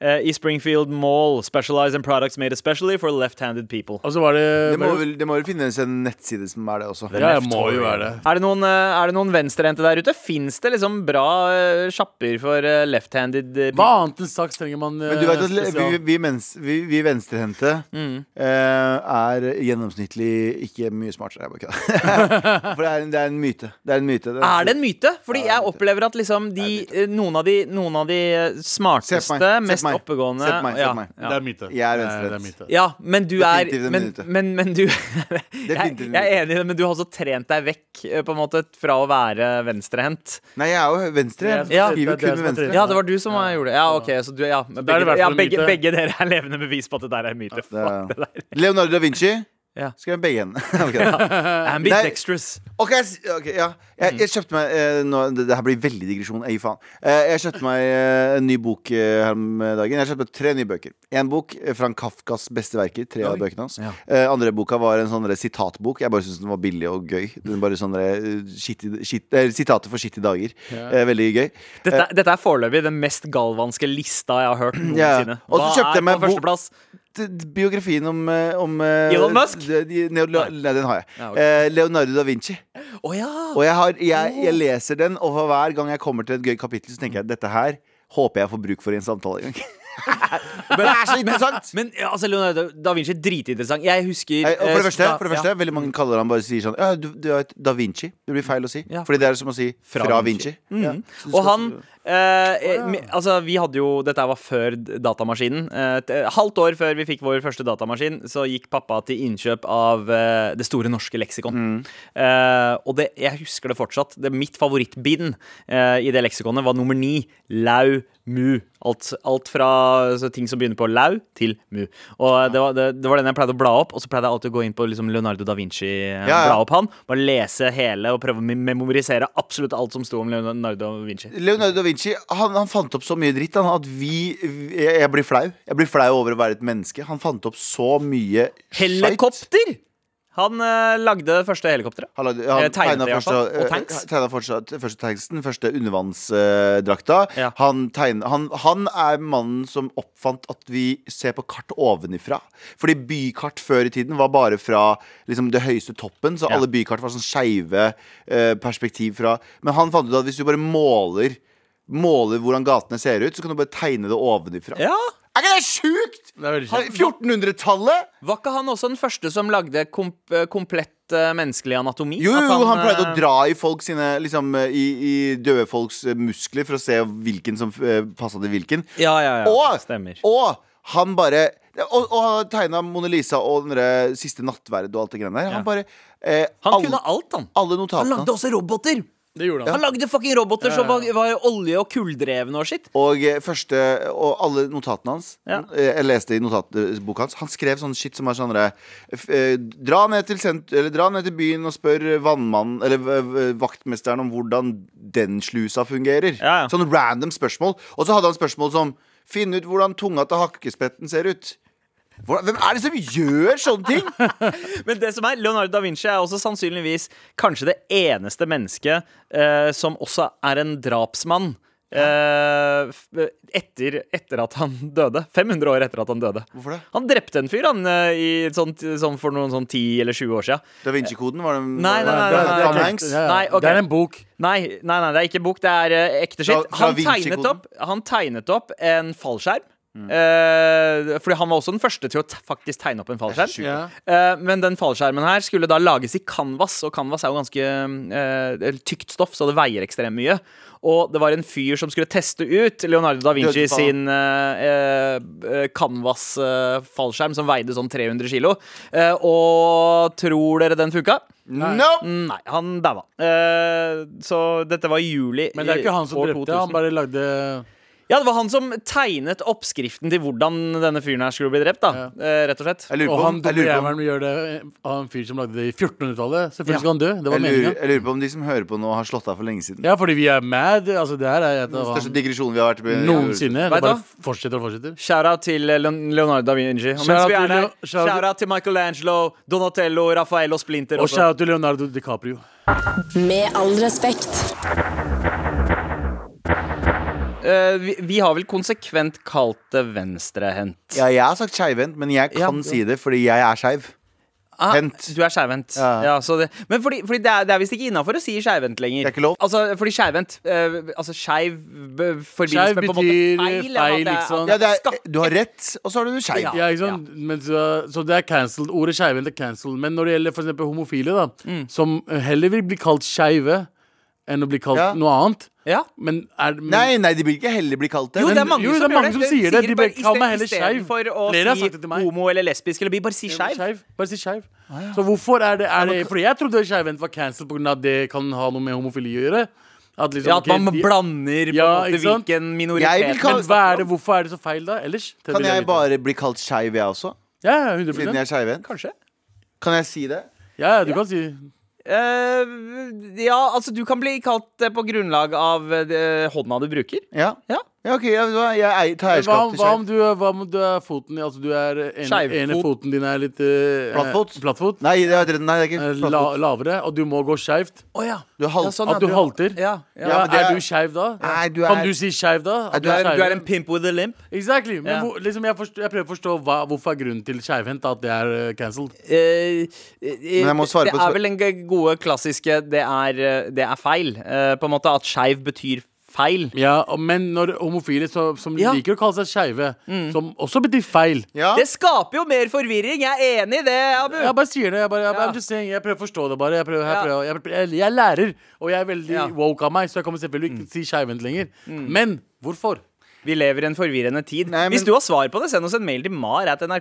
B: eh, I Springfield Mall, specialized in products made especially for left-handed people.
D: Og så var det,
C: Det må, vel, det må vel finnes en nettside som er det også.
D: Ja, det må jo være det.
B: Er det noen, eh, er det noen venstrehendte der ute? Fins det liksom bra eh, sjapper for eh, left-handed eh,
D: Hva annet enn saks trenger man? eh,
C: Men du vet at le- vi,
D: spesial?
C: vi, mens, vi, vi venstrehendte eh, er gjennomsnittlig ikke mye smartere. Jeg bare kødder. For det er, en- det er en myte. Det er en myte.
B: Er det en myte? Fordi
C: Ja,
B: jeg
C: det er en myte.
B: opplever at liksom de, eh, noen, av de, noen av de eh,
C: Se
B: smarteste,
C: på meg, se på
B: mest
C: meg,
B: oppegående
C: se på meg, se på
B: ja,
C: meg.
B: ja.
D: Det er myte.
C: Jeg er
D: Det det
C: venstrehendt.
D: myte.
B: Ja, men du er
C: Definitivt en
B: men,
C: myte.
B: men, men du jeg,
C: Definitivt en
B: jeg er enig i det, men du har også trent deg vekk eh, På en måte fra å være venstrehendt
C: Nei, jeg er jo venstre. Jeg
B: Ja.
C: skriver jo
D: Det er det
C: kun med
D: som er
C: venstre.
B: Ja, det var du som eh, gjorde det Ja, ok, så du, ja,
D: det i
B: begge,
D: hvert fall
B: ja,
D: en
B: begge,
D: myte.
B: begge dere er levende bevis på at det der er en myte
C: Det er-
B: Fuck det der
C: Leonardo da Vinci.
B: Ja.
C: Skrev begge hendene. Ok, da.
D: Eh,
B: Ambidextrous
C: Ok, jeg s- ok, ja.
B: Mm.
C: jeg, jeg kjøpte meg eh, nå, det, det her blir veldig digresjon. Jeg gir faen. Eh, jeg kjøpte meg eh, en ny bok eh, her om dagen. Jeg kjøpte tre nye bøker. Én bok eh, fra Kafkas beste verker. Tre av bøkene hans. Eh, andre boka var en sånn der sitatbok. Jeg bare syntes den var billig og gøy. Den bare sånn der, eh, shitty- shit- eh, Sitater for skittige dager. Eh, veldig gøy.
B: dette, er- dette er foreløpig den mest galvanske lista jeg har hørt
C: Ja.
B: noensinne
C: Og
B: Hva
C: så kjøpte jeg
B: er
C: meg
B: på
C: bo-
B: førsteplass?
C: D- d- biografien om, eh, om eh,
B: Elon Musk?
C: de- de- Neo-
B: Nei.
C: Nei, den har jeg.
B: Ja, ok.
C: Eh, Leonardo da Vinci.
B: Åja
C: Og jeg, har, jeg, jeg leser den, og for hver gang jeg kommer til et gøy kapittel, så tenker jeg dette her håper jeg får bruk for i en samtale en gang. det er så interessant!
B: Men ja, altså, Leonardo da Vinci er dritinteressant Jeg husker
C: Nei, og for det
B: eh,
C: første,
B: ja,
C: for det
B: ja.
C: første veldig mange kaller han bare sier sånn ja, du, du er et Da Vinci. Det blir feil å si.
B: Ja. Mm.
C: Fordi det er som å si fra, Vinci. Ja. Så du
B: Og
C: skal-
B: han eh, eh, mi- Altså, vi hadde jo Dette her var før d- datamaskinen. Eh, et eh, halvt år før vi fikk vår første datamaskin, så gikk pappa til innkjøp av eh, Det store norske leksikon.
C: Mm.
B: Eh, og det, jeg husker det fortsatt. Det, mitt favorittbind eh, i det leksikonet var nummer ni. Lau mu. Alt, alt fra så ting som begynner på lau, til mu. Og eh, det var, det, det var den jeg pleide å bla opp, og så pleide jeg alltid å gå inn på liksom Leonardo da Vinci. eh,
C: Ja, ja.
B: Bla opp han. Bare lese hele og prøve å mem- memorisere absolutt alt som sto om Leonardo da Vinci.
C: Leonardo da Vinci han, han fant opp så mye dritt han, at vi vi- jeg, jeg blir flau. Jeg blir flau over å være et menneske. Han fant opp så mye skjeit.
B: Helikopter! Han eh, lagde det første helikopteret.
C: Han, lagde-
B: Eh,
C: han
B: tegnet
C: tegna
B: det i hvert
C: først,
B: fall, og
C: eh,
B: tanks.
C: tegnet fortsatt, første tanksen, første undervannsdrakta.
B: Ja.
C: han, tegnet- han, han er mannen som oppfant at vi ser på kart ovenifra. Fordi bykart før i tiden var bare fra liksom, det høyeste toppen, så
B: Ja.
C: alle bykart var sånn skeive eh, perspektiv fra Men han fant ut at hvis du bare måler Måler hvordan gatene ser ut, så kan du bare tegne det ovenifra.
B: Ja.
C: Er ikke det sjukt?!
D: Det er veldig
C: Har-
D: kjent.
C: 1400-tallet!
B: Var ikke han også den første som lagde komp eh, komplett eh, menneskelig anatomi?
C: Jo, jo,
B: At
C: han, han pleide å
B: eh,
C: dra i folk sine liksom, i, i døde folks eh, muskler for å se hvilken som eh, passa til hvilken.
B: Ja, ja, ja.
C: og,
B: Stemmer.
C: og han bare Og, og han tegna Mona Lisa og den der siste nattverd og alt det greiene der. Han bare eh,
B: han
C: alle,
B: kunne alt, han.
C: alle
B: Han
C: notatene
B: lagde
C: hans.
B: også roboter!
D: Det gjorde
B: Han
D: han.
B: lagde fucking roboter som var, var olje- og kulldrevne og sitt.
C: Og, eh, første, og alle notatene hans.
B: Ja.
C: Eh, Jeg leste i notatboka hans. Han skrev sånn shit som er sånn derre f- eh, dra, ned til sent- eller dra ned til byen og spør vannmannen Eller eh, vaktmesteren om hvordan den slusa fungerer.
B: Ja, ja.
C: Sånn random spørsmål. Og så hadde han spørsmål som Finn ut hvordan tunga til hakkespetten ser ut. Hvordan, hvem er det som gjør sånne ting?
B: Men det som er, Leonardo da Vinci er også sannsynligvis kanskje det eneste mennesket eh, som også er en drapsmann. eh, f- etter, etter at han døde. 500 år etter at han døde.
C: Hvorfor det?
B: Han drepte en fyr han, eh, i, sånn, sånn for noen sånn 10 eller 20 år siden.
C: Da Vinci-koden, var det
B: Nei, nei, nei,
D: Det,
B: nei,
D: det,
C: Tom
D: er
C: Hanks?
D: tekst, ja, ja.
B: Nei, ok.
D: det er en bok.
B: Nei, nei, nei, det er ikke bok, det er eh, ekte
C: Fra-
B: skitt.
C: fra
B: Han, tegnet
C: Vinci-koden?
B: opp- han tegnet opp en fallskjerm.
C: Mm.
B: Eh, fordi han var også den første til å te- faktisk tegne opp en fallskjerm.
D: Ja.
B: Eh, men den fallskjermen her skulle da lages i canvas, og canvas er jo ganske eh, tykt stoff, så det veier ekstremt mye. Og det var en fyr som skulle teste ut Leonardo da Vinci
C: Døde faen.
B: sin eh, canvas-fallskjerm, eh, som veide sånn 300 kilo. Eh, og tror dere den funka?
C: Nope!
B: Nei, han daua. Eh, så dette var i juli
D: Men det er
B: i
D: ikke han som
B: år
D: drepte,
B: 2000.
D: han bare lagde
B: Ja, det var han som tegnet oppskriften til hvordan denne fyren her skulle bli drept, da. Eh, rett og slett.
C: Jeg lurer
D: Og
C: på om,
D: han
C: jeg
D: dumme
C: lurer på om,
D: jævelen gjør det eh, av en fyr som lagde det i 1400-tallet. Selvfølgelig
B: Ja.
D: skal han dø. Det var
C: jeg lurer,
D: meningen.
C: jeg lurer på om de som hører på nå, har slått av for lenge siden.
D: Ja, fordi vi er mad. Altså, det her er et av
C: Største digresjonen vi har vært på.
D: noensinne.
B: Vet
D: Det
B: du
D: bare
B: hva?
D: fortsetter og fortsetter.
B: Shout-out til eh, Leon- Leonardo da Vinci. Og mens
D: Shout-out
B: vi er
D: til
B: der,
D: Leo- shout-out-
B: shout-out til Michelangelo, Donatello, Rafael og Splinter.
D: Og
B: også.
D: shout til Leonardo DiCaprio.
E: Med all respekt.
B: Eh, vi, vi har vel konsekvent kalt det venstrehendt.
C: Ja, jeg har sagt skeivhendt, men jeg kan
B: Ja.
C: si det fordi jeg er skeiv.
B: Ah,
C: Hendt.
B: Du er skeivhendt.
C: Ja.
B: Ja. så det- men fordi, fordi det, er, det er visst ikke innafor å si skeivhendt lenger.
C: Det er ikke lov.
B: Altså, fordi skeivhendt eh, Altså skeiv b- forbindes
D: Skeiv
B: med på en måte
D: betyr
B: feil. eller
D: feil,
B: at det er-
D: liksom.
C: Ja, det er,
B: skakk.
C: du har rett, og så er du skeiv.
D: Ja, ikke sant? Men så, så det er cancelled. Ordet skeivhendt er cancelled. Men når det gjelder for eksempel homofile, da,
C: Mm.
D: som heller vil bli kalt skeive enn å bli kalt
C: Ja.
D: noe annet
B: Ja.
D: Men er men,
C: Nei, nei, de blir ikke heller bli kalt det.
B: Jo,
C: men-
B: det er mange
D: jo, det
B: som
D: er
B: gjør
D: mange som
B: De
D: sier det. De bare
B: bare
D: kaller
B: iste-
D: meg heller skeiv.
B: istedenfor å
D: Flere har
B: si
D: sagt det til meg.
B: homo eller lesbisk eller bi, bare si skeiv.
D: skeiv. Bare si skeiv. Så hvorfor er det, er det Fordi jeg trodde skeivhendt var cancelled pga. at det kan ha noe med homofili å gjøre. At liksom,
B: Ja, at
D: ok,
B: man
D: de-
B: blander på en
D: Ja,
B: måte
D: ikke sant?
B: hvilken
C: Jeg vil
B: minoritet
C: kalle-
D: Men hva er det, hvorfor er det så feil, da? Ellers? Det
C: Kan
D: vil
C: jeg
D: vite.
C: bare bli kalt skeiv, jeg også?
D: Ja, ja, 100
C: Siden jeg er skeivhendt?
B: Kanskje.
C: Kan jeg si det?
D: Ja, ja, du kan si
B: Eh, ja, altså du kan bli kalt det på grunnlag av eh, hånda du bruker.
C: Ja.
B: Ja.
C: Ja, ok, jeg, jeg, eier- tar
D: hva,
C: eierskap til
D: hva,
C: skeiv.
D: om du, hva om du er foten Altså, du er en,
B: Skeivfot.
D: ene foten din er litt eh,
C: Plattfot?
D: plattfot.
C: Nei, det er, nei, det er
D: Eh,
C: ikke
D: La,
C: plattfot.
D: lavere, og du må gå skeivt.
B: Å ja.
C: Du er halv-
B: sånn,
D: At du halter.
B: Ja, ja.
D: Ja,
C: men det
D: er,
C: er-
D: du skeiv da?
C: Nei, du
D: Kan
C: er-
D: du si skeiv da? At
B: Du, er,
D: skeiv?
B: du er en pimp with a limp.
D: Exactly. Men
B: Ja.
D: hvor, liksom jeg, forstår, jeg prøver å forstå hva, hvorfor er grunnen til skeivhendt at det er uh, cancelled.
B: Eh, eh,
C: jeg må svare
B: det
C: på et
B: er
C: spør-
B: vel den g- gode klassiske 'det er, eh, det er feil'. eh, på en måte At skeiv betyr feil.
D: Ja, og- men når homofile så, som
B: Ja. Mm.
D: liker å kalle seg skeive, som også betyr feil
C: Ja.
B: Det skaper jo mer forvirring. Jeg er enig i det, Abu.
D: Jeg bare sier det. Jeg, bare, jeg,
B: Ja.
D: I'm just saying, jeg prøver å forstå det, bare. Jeg, prøver, jeg,
B: Ja.
D: prøver, jeg, prøver, jeg, jeg lærer, og jeg er veldig
B: Ja.
D: woke av meg, så jeg kommer selvfølgelig
C: Mm.
D: ikke til å si skeivhendt lenger. Men hvorfor?
B: Vi lever i en forvirrende tid.
C: Nei, men-
B: Hvis du har svar på det, send oss en mail til mar.nrk.no.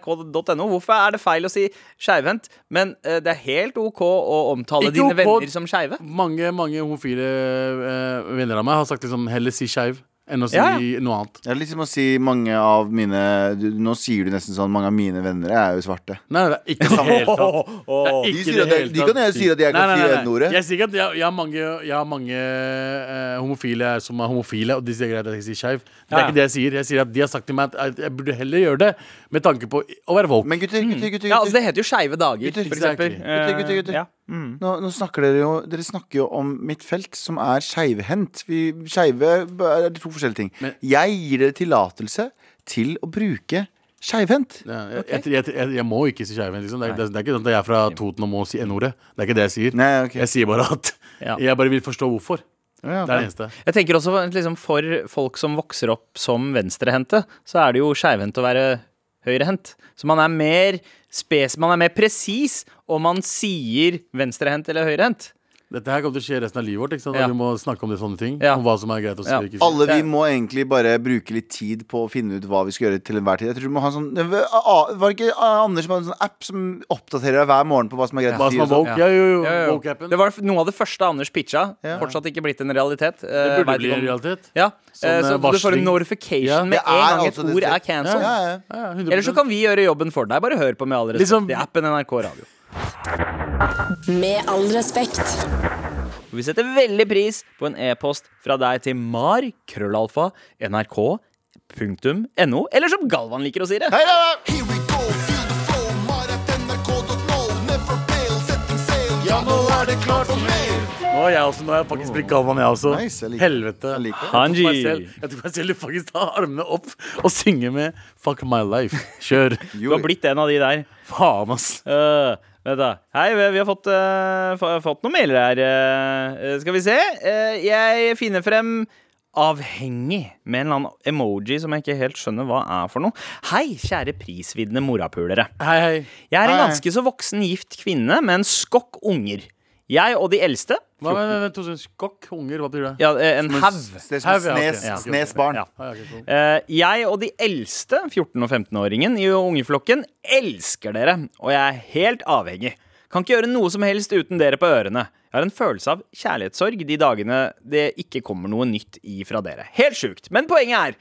B: Hvorfor er det feil å si skeivhendt? Men eh, det er helt OK å omtale
D: Ikke
B: dine
D: OK.
B: venner som skeive.
D: Mange mange homofile eh, venner av meg har sagt liksom heller si skeiv enn å si
B: Ja,
D: noe annet.
C: Det er litt som å si mange av mine du, Nå sier du nesten sånn mange av mine venner er jo svarte.
D: Nei, det er ikke i det hele tatt. Det er
C: De,
D: ikke
C: sier
D: det
C: at jeg,
D: hele
C: de
D: tatt.
C: kan jo si at jeg
D: Nei,
C: kan
D: nei,
C: si
D: nei, nei.
C: n-ordet.
D: Jeg sier ikke at jeg, jeg har mange, jeg har mange eh, homofile som er homofile, og de sier greit at jeg skal si skeiv. Det er
B: Ja.
D: ikke det jeg sier. Jeg sier at De har sagt til meg at jeg burde heller gjøre det med tanke på å være woke.
C: Men gutter, gutter, gutter,
B: Ja, altså
C: gutter,
B: Det heter jo skeive dager,
C: Gutter,
B: for eksempel. Eh,
D: exactly.
C: gutter, gutter, gutter.
B: ja.
C: Nå, nå snakker dere jo Dere snakker jo om mitt felt, som er skeivhendt. Vi- Skeive b- er to forskjellige ting.
D: Men-
C: jeg gir dere tillatelse til å bruke skeivhendt.
D: Ja, jeg, jeg, jeg, jeg, jeg må ikke si skeiven. Liksom. Det, er- det, er- det er ikke sånn at jeg er fra Toten og må si N-ordet. Det er ikke det jeg sier.
C: Nei, ok.
D: Jeg sier bare at
B: Ja.
D: jeg bare vil forstå hvorfor.
C: Ja,
D: Det
C: ok.
D: er det eneste.
B: Jeg tenker også liksom, For folk som vokser opp som venstrehendte, så er det jo skeivhendt å være høyrehendt. Så man er mer spes, man er mer presis om man sier venstrehendt eller høyrehendt.
D: Dette her kommer til å skje resten av livet vårt. Ikke sant?
B: Ja.
D: Vi må snakke om det sånne ting.
B: Ja.
D: Om hva som er greit å si.
B: Ja.
D: og Ikke si.
C: Alle vi
B: Det-
C: må egentlig bare bruke litt tid på å finne ut hva vi skal gjøre til enhver tid. Jeg tror vi må ha en sånn det var- a- Var det ikke Anders som hadde en sånn app som oppdaterer deg hver morgen på hva som er greit
D: Hva
C: å si?
D: som er
C: og sånn?
D: woke. Ja, jo, jo.
B: Ja, ja, ja.
D: Woke-appen.
B: Det var noe av det første Anders pitcha.
C: Ja.
B: Fortsatt ikke blitt en realitet.
D: Det
B: Eh,
D: burde
B: vet
D: bli
B: ikke
D: en
B: om-
D: realitet.
B: Ja,
D: Sånn,
B: eh,
D: eh,
B: så du får
D: varsling.
B: en notification
D: Ja.
B: med
C: Det
B: en
C: er
B: gang et
C: altså det-
B: ord er cancelled.
C: Ja, ja, ja.
D: Ja, ja,
B: Eller så
D: 100%.
B: kan vi gjøre jobben for deg. Bare hør på med all respekt.
D: Liksom-
B: Det er appen NRK Radio.
E: Med all respekt.
B: Og vi setter veldig pris på en e-post fra deg til mar.krøllalfa.nrk.no, eller som Galvan liker å si det.
C: Hei, da!
F: Here we go, feel the flow, mar at nrk.no, never fail, setting sail, ja nå er det klart for mer.
D: Nå er jeg også, nå er jeg faktisk blitt Galvan, jeg også.
C: Nice, jeg liker det.
D: Helvete.
C: Jeg liker det.
D: Jeg tok meg
B: Hanji.
D: selv- Jeg tok meg selv i faktisk ta armene opp og synge med Fuck my life. Kjør.
B: Du har blitt en av de der.
D: Faen, ass.
B: Øh, vet du. Hei, vi, vi har fått, eh, øh, fa- fått noen mailer her. øh, øh, skal vi se. Øh, jeg Eh, finner frem avhengig med en eller annen emoji som jeg ikke helt skjønner hva er for noe. Hei, kjære prisviddende morapulere.
D: Hei, hei.
B: Jeg er en
C: Hei.
B: ganske så voksen gift kvinne med en skokk unger. Jeg og de eldste
D: Hva med, med, med, med skokk? Unger? Hva betyr det?
B: ja, eh, En haug.
C: Det er som
D: Haug, ja, ok.
C: snes,
D: Ja.
C: snes barn.
B: Ja.
D: Ah, ja, ok, cool.
B: Eh, jeg og de eldste 14- og 15-åringen i ungeflokken elsker dere, og jeg er helt avhengig. Kan ikke gjøre noe som helst uten dere på ørene. Jeg har en følelse av kjærlighetssorg de dagene det ikke kommer noe nytt ifra dere. Helt sjukt. Men poenget er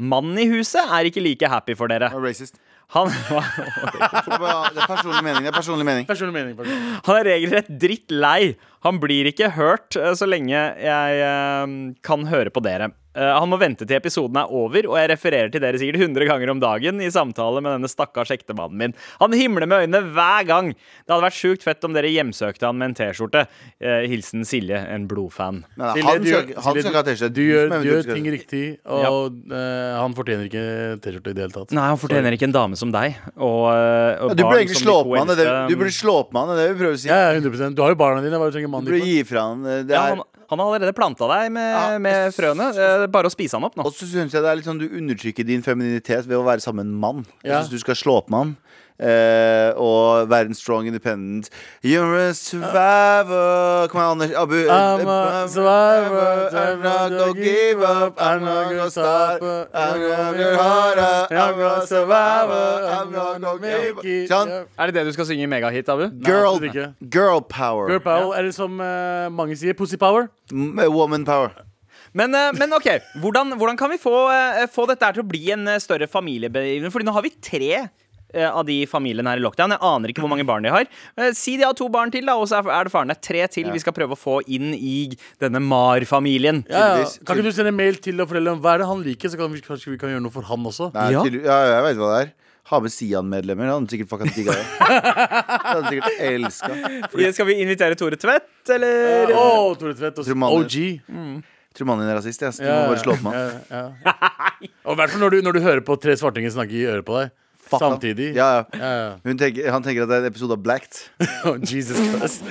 B: mannen i huset er ikke like happy for dere.
C: Det er Racist.
B: Han,
C: Det er personlig mening. Det er personlig mening.
D: Personlig mening. Personlig.
B: han er regelrett drittlei. Han blir ikke hørt eh, så lenge jeg eh, kan høre på dere. Eh, han må vente til episoden er over, og jeg refererer til dere sikkert 100 ganger om dagen i samtale med denne stakkars ektemannen min. Han himler med øynene hver gang. Det hadde vært sjukt fett om dere hjemsøkte han med en T-skjorte. Eh, hilsen Silje, en blodfan.
C: Nei, nei,
D: Silje,
C: han
D: du-
C: skal ikke- han
D: Silje,
C: skal ikke ha T-skjorte.
D: Du
C: som
D: gjør, du
C: eventuelt
D: gjør
C: skal-
D: ting riktig, og eh, han fortjener ikke T-skjorte i det hele tatt.
B: Nei, han fortjener ikke en dame som deg. Og, eh, og
C: Ja, Du
B: barn
C: burde egentlig
B: som
C: slå
B: de
C: opp
B: to
C: med han. Det er
B: eldste.
C: det- Du burde slå opp med han, det er det vi prøver å si.
D: um, Ja, ja, 100 Du har jo barna dine. Hva er det du trenger
C: Du
D: mannen
C: burde
D: din for?
C: gi fra han. eh, Det
B: ja,
C: er
B: han, han har allerede planta deg med,
C: Ja.
B: med frøene. Eh, Bare å spise han opp nå.
C: Og så syns jeg det er litt sånn du undertrykker din femininitet ved å være sammen med en mann. Jeg
D: Ja.
C: synes du skal slå opp med han. eh, og være en strong independent. You're a survivor. Kom igjen, Anders. Abu.
D: I'm a survivor.
C: I'm not gonna give up. I'm not gonna stop. I'm gonna be harder. I'm gonna survivor. I'm not gonna give up. Sånn.
B: Er det det du skal synge i megahit, Abu?
C: Girl,
D: absolutt ikke.
C: girl power.
D: Girl power, eller som eh, mange sier, pussy power.
C: M- Woman power.
B: Men, eh, men ok, hvordan, hvordan kan vi få, eh, få dette her til å bli en eh, større familiebegivenhet? Fordi nå har vi tre eh, av de familiene her i lockdown. Jeg aner ikke hvor mange barn de har. Eh, Si de har to barn til, da, og så er- er det faren der. Tre til vi skal prøve å få inn i denne Mar-familien.
D: Ja, ja.
C: Tydeligvis.
D: Kan ikke du sende mail til og fortelle om hva er det han liker, så kan vi, kanskje vi kan gjøre noe for han også?
C: Nei,
B: Ja.
C: tydelig- ja, jeg vet hva det er. Ha med Sian-medlemmer. Han hadde sikkert fucka digga det. Han hadde sikkert elska.
B: Skal vi invitere Tore Tvedt, eller?
D: Å, Tore Tvedt og
C: Tror mannen-
D: OG.
C: Tror mannen din er rasist. Jeg. Så du må bare slå opp med han.
D: ja, ja. Og i hvert fall når du, når du hører på tre svartinger snakke i øret på deg
C: Fuck han.
D: samtidig.
C: Ja, ja.
D: Ja, ja.
C: Hun tenker, han tenker at det er en episode av Blacked.
D: Oh, Jesus Christ.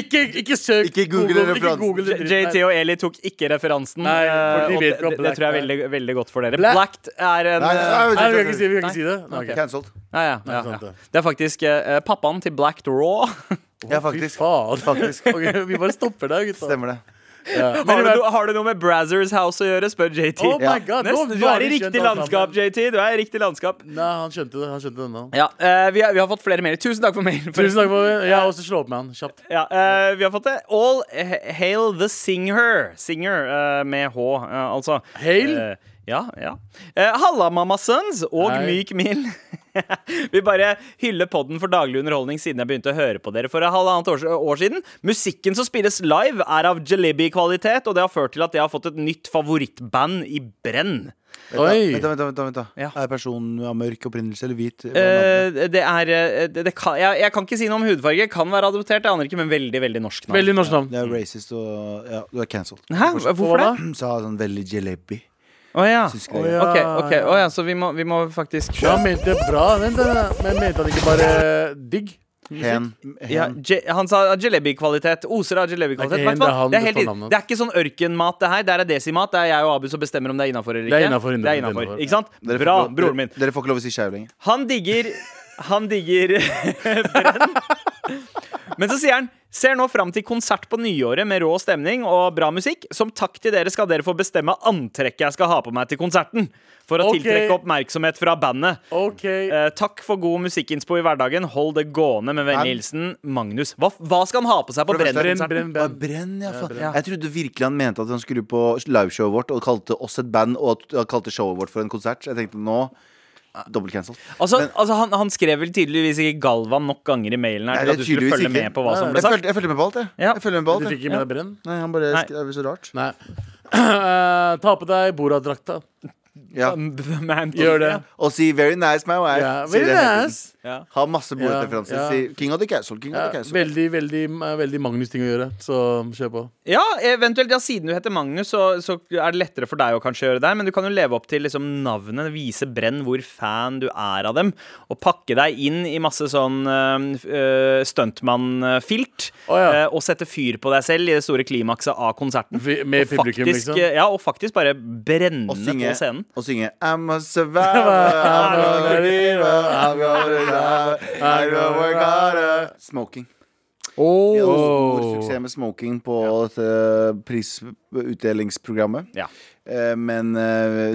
D: ikke, ikke søk
C: Ikke google
D: Google, ikke
C: referansen.
D: google det dritt.
B: JT og Eli tok ikke referansen.
D: Nei,
B: eh,
D: for de
B: og
D: vet
B: det,
D: hva
B: det, det
D: Black
B: tror jeg er
D: er.
B: veldig, veldig godt for dere.
D: Black-
B: Blacked er en
C: Nei,
B: eh,
C: nei,
D: Nei, vi kan
C: nei,
D: ikke si, vi kan ikke si det. Nei, ok.
C: Cancelled.
B: ja, ja, ja,
D: sant,
B: ja.
D: det.
B: Det er faktisk eh, pappaen til Blacked Raw.
C: Ja,
D: Fy
C: faktisk.
D: faen. altså. Ok, vi bare stopper der, gutta.
C: Stemmer det.
D: Ja. Men
B: Har
D: i
B: du,
D: hvert-
B: no- har du noe med Brazzers House å gjøre, spør JT.
D: Oh my
C: Ja.
D: god, nå
B: Nesten, du er
D: var
B: i
D: vi
B: riktig
D: kjent alle
B: landskap,
D: sammen.
B: JT. Du er i riktig landskap.
D: Nei, han skjønte det. Han skjønte det nå.
B: Ja, eh, vi, har, vi har fått flere mailer. Tusen takk for mailen. forresten.
D: Tusen takk for det. Jeg har også slå opp med han kjapt.
B: Ja, eh, vi har fått det. All eh, hail the singer. Singer eh, med H, eh, altså.
D: Hail?
B: Eh, ja, ja. Eh, Halla, mamma sons og
D: Hei.
B: myk min. vi bare hyller podden for daglig underholdning siden jeg begynte å høre på dere for halvannet år, år siden. Musikken som spilles live, er av jalebi-kvalitet, og det har ført til at jeg har fått et nytt favorittband i brenn.
D: Oi.
C: Vent, da, vent, da, vent, da, vent da.
B: Ja.
C: Er personen av mørk opprinnelse eller hvit? Hva er navnet?
B: Eh, det er eh, det, det kan, jeg, jeg kan ikke si noe om hudfarge. Kan være adoptert, jeg aner ikke, men veldig veldig norsk navn.
D: Veldig norsk navn.
C: Det er racist og ja, du er cancelled.
B: Hæ? Hvorfor det?
C: Sa sånn veldig jalebi.
B: Å ja.
C: Tysk greie.
D: ja.
B: Ok, ok, Å ja, så vi må, vi må faktisk
D: Ja, han mente bra. Vent, da, da. Men mente han ikke bare digg?
C: Hen.
B: ja,
C: hen.
B: je, Han sa jalebi-kvalitet. Oser av jalebi-kvalitet.
D: Det er ikke
B: Vet du hva?
D: han
B: Det, er helt
D: du får
B: i-
D: navnet.
B: det er ikke sånn ørkenmat, det her. Det er desimat. Det er jeg og Abu som bestemmer om det er innafor eller
D: Det
B: ikke.
D: er innenfor, innenfor,
B: Det er innenfor,
D: innenfor.
B: Ikke sant?
C: Dere får
B: Bra,
C: ikke lov-
B: broren min.
C: Dere, dere får ikke lov å si skeiv lenger.
B: Han digger Han digger brenn. Men så sier han Ser nå fram til konsert på nyåret med rå stemning og bra musikk. Som takk til dere skal dere få bestemme antrekket jeg skal ha på meg til konserten. For å
D: Ok.
B: tiltrekke oppmerksomhet fra bandet.
D: OK.
B: Eh, takk for god musikkinspo i hverdagen. Hold det gående med vennlig hilsen Magnus. Hva, hva skal han ha på seg på
C: For det første-
D: Brenn,
B: Brenn-konserten?
D: brenn,
C: Å,
D: brenn.
C: Brenn, ja, faen. Jeg trodde virkelig han mente at han skulle på liveshowet vårt og kalte oss et band og at- og kalte showet vårt for en konsert. Så Jeg tenkte nå Dobbelt cancelled.
B: Altså, altså han, han skrev vel tydeligvis ikke Galvan nok ganger i mailen her
C: Nei,
B: til at
C: det er
B: du skulle
C: tydeligvis
B: følge
C: ikke.
B: med på hva som
C: Jeg
B: ble sagt.
C: følte, jeg følte med på alt, jeg.
B: Ja.
C: jeg følte med på
D: Du
C: alt,
D: fikk
C: jeg.
D: ikke med deg brenn?
C: Nei, han bare
B: Nei.
C: skrev så rart.
D: Nei. Eh, ta på deg Borat-drakta.
C: Ja.
B: The man på
D: Gjør det.
B: siden.
C: Og si 'very nice, my wife'.
D: Ja,
C: Si
D: very
C: det hele tiden.
D: nice.
B: Ja.
C: Ha masse bordreferanser.
D: Ja, ja.
C: Si 'King of the Castle'. King
D: Ja,
C: of the castle.
D: veldig, veldig, eh, veldig Magnus-ting å gjøre, så kjør på.
B: Ja, eventuelt, ja, siden du heter Magnus, så, så er det lettere for deg å kanskje gjøre det. Men du kan jo leve opp til liksom, navnet, vise Brenn hvor fan du er av dem. Og pakke deg inn i masse sånn øh, øh, stuntmann-filt.
D: Å, ja.
B: øh, og sette fyr på deg selv i det store klimakset av konserten.
D: Vi- med
B: og
D: publikum,
B: faktisk, eh,
D: liksom.
B: Ja, og faktisk bare brenne
C: Og synge,
B: på scenen.
C: og synge I'm a survivor, I'm a believer, I'm gonna survive, I'm gonna work harder Smoking. Vi hadde stor suksess med smoking på dette prisutdelingsprogrammet.
B: Ja.
C: Eh, Men, eh,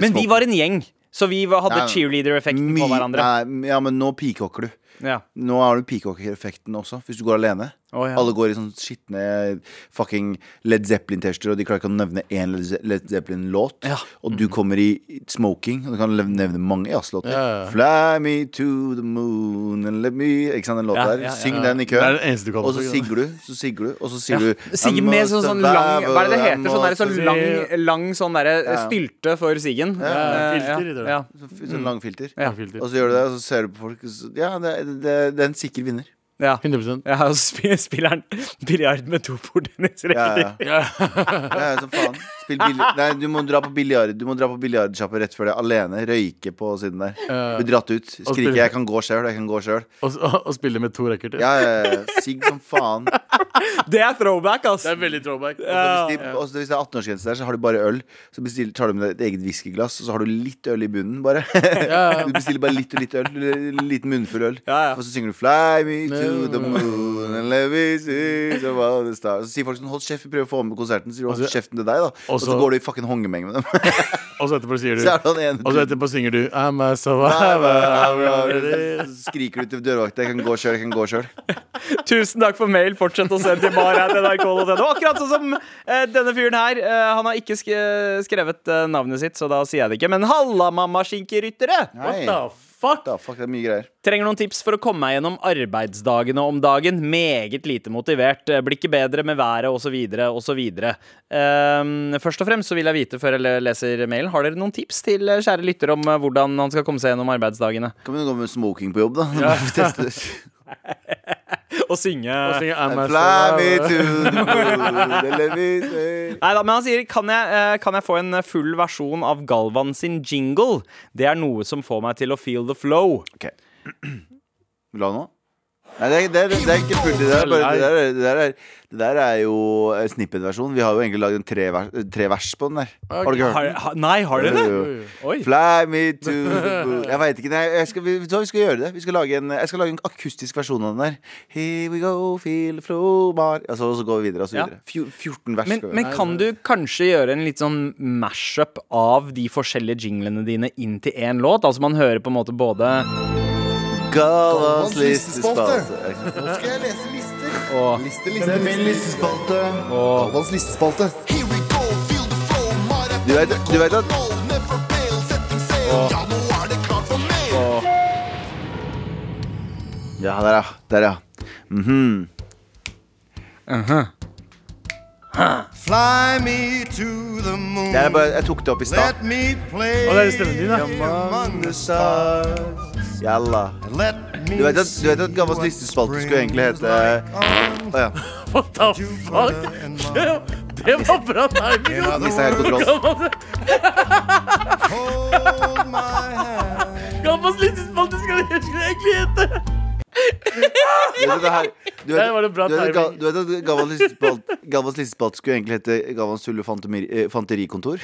B: Men vi
C: smoking-
B: var en gjeng, så vi var, hadde
C: Nei, nei.
B: cheerleader-effekten på
C: My-
B: hverandre.
C: Nei, ja, men nå peacocker du.
B: Ja.
C: Nå har du peacock-effekten også, hvis du går alene.
B: Å, ja.
C: Alle går i sånne skitne fucking Led Zeppelin-tester, og de klarer ikke å nevne én Led Ze- Led Zeppelin-låt.
B: Ja. Mm.
C: Og du kommer i smoking, og du kan lev- nevne mange jazzlåter.
D: Ja, ja.
C: Fly me to the moon and let me Ikke sant, den
B: Ja,
C: låta der.
B: ja, ja.
C: Syng den i
D: Det
C: kø.
D: er det eneste du kan
C: Og så
D: også, ikke
C: sigger du, så sigger du, og så sier du
B: Siggen
C: I'm
B: med
C: a
B: sånn, sånn lang Hva er det det
C: survivor,
B: heter? Sånn, der,
C: I'm
B: sånn
C: a-
B: lang, lang sånn derre stylte for Siggen.
D: ja,
B: Eh,
D: filter i det.
B: ja.
C: Sånn lang filter.
B: Ja.
D: Filter.
C: Og så gjør du det, og så ser du på folk og så- Ja, det, det, det er en sikker vinner.
D: 100
B: Ja, og så spiller spilleren biljard med to bordtennisregler.
C: Ja, ja. ja, ja, som faen. Spill billi- Nei, du må dra på biljard Du må dra på biljardsjappe rett før det, alene. Røyke på siden der. Bli dratt ut. Skrike
D: spille-
C: 'jeg kan gå sjøl', 'jeg kan gå sjøl'.
D: Og, og, og spille med to racket.
C: Ja, ja, ja. Sigg som faen.
B: Det er throwback, ass!
D: Det er veldig throwback.
C: Og hvis, de, og hvis det er 18-årsgrense der, så har du bare øl. Så bestiller, tar du med deg et eget whiskyglass, og så har du litt øl i bunnen, bare. Du bestiller bare litt og litt øl. En liten munnfull øl.
B: Ja, ja.
C: Og så synger du 'Fly me to the moon and let me see the wild stars'. Så sier folk sånn 'Hold kjeft, vi prøver å få med på konserten'. Så sier du 'Hold kjeften til deg', da. Og så
D: så-
C: går du i fucking hongemeng med dem.
D: Og så etterpå sier du
C: Så er det han ene
D: Og så etterpå synger du I'm a survivor.
C: Så skriker du til dørvakta 'Jeg kan gå sjøl, jeg kan gå sjøl'.
B: Tusen takk for mail. Fortsett å sende til mar.nrk.no. Akkurat sånn som eh, denne fyren her. Eh, han har ikke sk eh, skrevet eh, navnet sitt, så da sier jeg det ikke. Men halla, mammaskinkeryttere!
C: Nei.
D: The fuck?
C: Da, fuck, det er mye greier.
B: Trenger noen tips for å komme meg gjennom arbeidsdagene om dagen. Meget lite motivert. eh, Blir ikke bedre med været osv. osv. Um, først og fremst så vil jeg vite før jeg le- leser mailen, har dere noen tips til eh, kjære lytter om eh, hvordan han skal komme seg gjennom arbeidsdagene?
C: Kan vi gå med smoking på jobb, da? Vi tester.
B: Og synge
D: Og synger I'm a
C: Fly me
D: survivor.
C: to the moon and let me see
B: Nei da, men han sier kan jeg, eh, kan jeg få en full versjon av Galvan sin jingle? Det er noe som får meg til å feel the flow.
C: Ok Vil du ha noe? Nei, det er, det, er, det er ikke fullt. Det der, er bare, det der, er- det der, er, det der er jo eh, snippet-versjon. Vi har jo egentlig lagd en tre vers, eh, tre vers på den der. Har du ikke hørt
B: Har,
C: den?
B: ha, nei, har dere det?
C: Jo, jo.
B: Oi.
C: Fly me to the moon Jeg veit ikke. Nei, jeg skal, vi, vet du hva, vi skal gjøre det. Vi skal lage en, jeg skal lage en akustisk versjon av den der. Here we go, feel the flow, bar altså, Og så går vi videre og så
B: Ja.
C: videre. Fjo- 14 vers.
B: Men,
C: skal vi
B: men
C: gjøre.
B: kan du kanskje gjøre en litt sånn mash-up av de forskjellige jinglene dine inn til én låt? Altså man hører på en måte både
C: Galvans
F: listespalte. Nå skal jeg lese lister. Liste, liste, liste. Galvans listespalte.
C: Du vet- du vet at-
F: Ja, nå er det klart for mer.
C: Ja, der, ja. Der, ja. Mhm.
F: Fly me to the moon.
C: Det er bare, jeg tok det opp i stad.
F: Let me play
D: Å, det er stemmen din, da.
F: among the stars.
C: Jalla.
F: Let me
C: Du vet at, du vet at Galvans listespalte skulle egentlig hete Å ja.
D: What the fuck? Det var bra timing, ass.
C: Mista helt kontroll.
F: Hold my hand.
D: Gammas listespalte skal det skal det egentlig hete.
C: Du vet at det her Du vet,
D: Der var det bra
C: du vet, at Ga-
D: timing.
C: du vet at Galvans listespalte, Galvans listespalte skulle egentlig hete Galvans tulle- og fantomeri- eh, fanterikontor?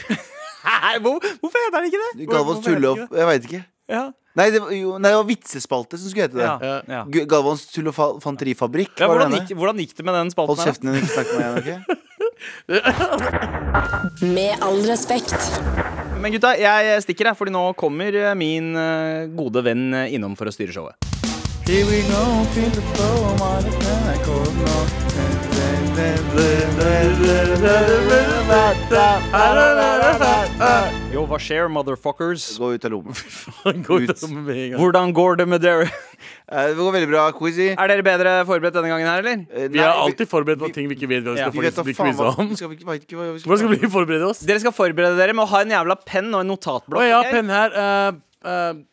B: Hæ, hvor, Hvorfor heter den ikke det? Hvor-
C: Galvans
B: hvorfor
C: tulle
B: heter
C: og
B: den ikke det?
C: Jeg veit ikke.
B: ja.
C: Nei det, var, jo, nei, det var vitsespalte som skulle hete det.
B: Ja, ja.
C: Gu- Galvans tulle- og fa- fanterifabrikk.
B: Ja,
C: var det
B: hvordan,
C: henne.
B: gikk, hvordan gikk det med den spalten?
C: Hold
B: her, da?
C: kjeften din, ikke snakk med meg igjen. ok?
E: Med all respekt.
B: Men gutta, jeg stikker, jeg, fordi nå kommer eh, min eh, gode venn eh, innom for å styre showet.
C: Here we go, feel the flow, my friend, I call now. And then
B: Yo, hva skjer, motherfuckers?
C: Gå ut av lommen.
D: Gå ut av rommet med en gang.
B: Hvordan går det med dere?
C: Eh, Det går veldig bra, Quizzy.
B: Er dere bedre forberedt denne gangen her, eller?
C: Eh,
D: Vi
C: nei,
D: er alltid forberedt på ting vi ikke vet hva vi
B: Ja,
D: skal
C: Vi vet da
D: faktisk bli
C: faen
D: quiza
C: hva
D: om.
C: vi skal, vi vet ikke hva vi skal
D: Hvordan skal vi forberede oss?
B: Dere skal forberede dere med å ha en jævla penn og en
D: Å,
B: notatblokk.
D: jeg har
B: ok?
D: penn her. eh, eh,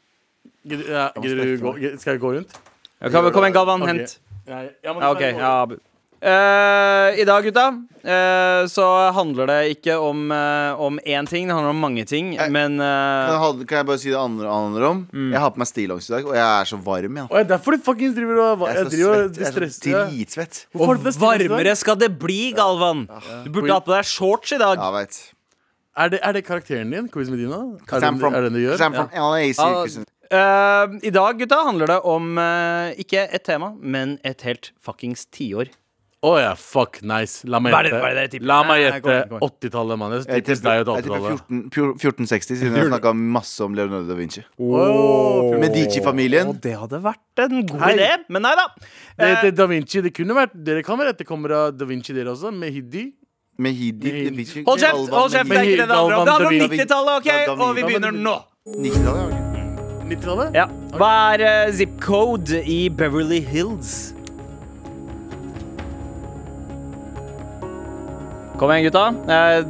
D: gidder- ja, Gidder du gå? gidder- Skal jeg gå rundt?
B: Ja, kom, kom igjen, Galvan.
D: Ok.
B: Hent.
D: Nei, ja, men
B: Ja,
D: skal
B: ok.
D: jeg gå
B: Ja,
D: rundt?
B: Abu. Eh, I dag, gutta, eh, så handler det ikke om, eh, om én ting. Det handler om mange ting,
C: Eh,
B: men
C: Kan jeg,
B: eh,
C: ha- kan jeg bare si det andre handler om?
D: Mm.
C: Jeg har på meg stillongs i dag, og jeg er så varm. Ja.
D: Å, ja, derfor du fuckings driver og
C: Jeg
D: Jeg
C: er så
D: driver og
C: svett. Jeg er så
D: stresser.
C: dritsvett.
D: Hvorfor har du
B: Og
D: det stresset?
B: varmere skal det bli, Galvan! Du burde hatt på deg shorts i dag.
C: Ja, veit.
D: Er det, er det karakteren din? Quiz Medina? Er det,
C: I'm from,
D: er det det du gjør?
C: I'm from LA, sirkusen.
B: Eh, I dag, gutta, handler det om eh, ikke et tema, men et helt fuckings tiår.
D: Å ja, fuck, nice. La meg
B: Hva er det-
D: gjette.
B: hva er det dere tipper?
D: La meg
B: Nei,
D: gjette
B: kom igjen, kom igjen.
D: 80-tallet, mann. Jeg
C: Jeg
D: tipper deg
C: tipper
D: og
C: jeg tipper 14
D: 80-tallet.
C: pjor- 1460, siden jeg snakka masse om Leonardo da Vinci.
D: Åh,
C: Medici-familien.
B: Og det hadde vært en god
D: Hei.
B: idé, men nei da.
D: Det
B: Eh,
D: heter Da Vinci. Det kunne vært Dere kan være etterkommere av Da Vinci, dere også, med Hidi.
C: Mehidi
D: Mehidi.
C: Da Vinci-
B: Hold kjeft!
C: Galvan
B: hold kjeft, Det er
C: Mehidi.
B: ikke det det handler om. Det handler om
D: Galvan,
B: 90-tallet,
C: Galvan,
B: OK? Og vi
C: Galvan,
B: begynner nå.
C: 90-tallet, ja, ok.
D: 90-tallet?
B: Ja. Hva er eh, zip code i Beverly Hills? Kom igjen, gutta. Eh,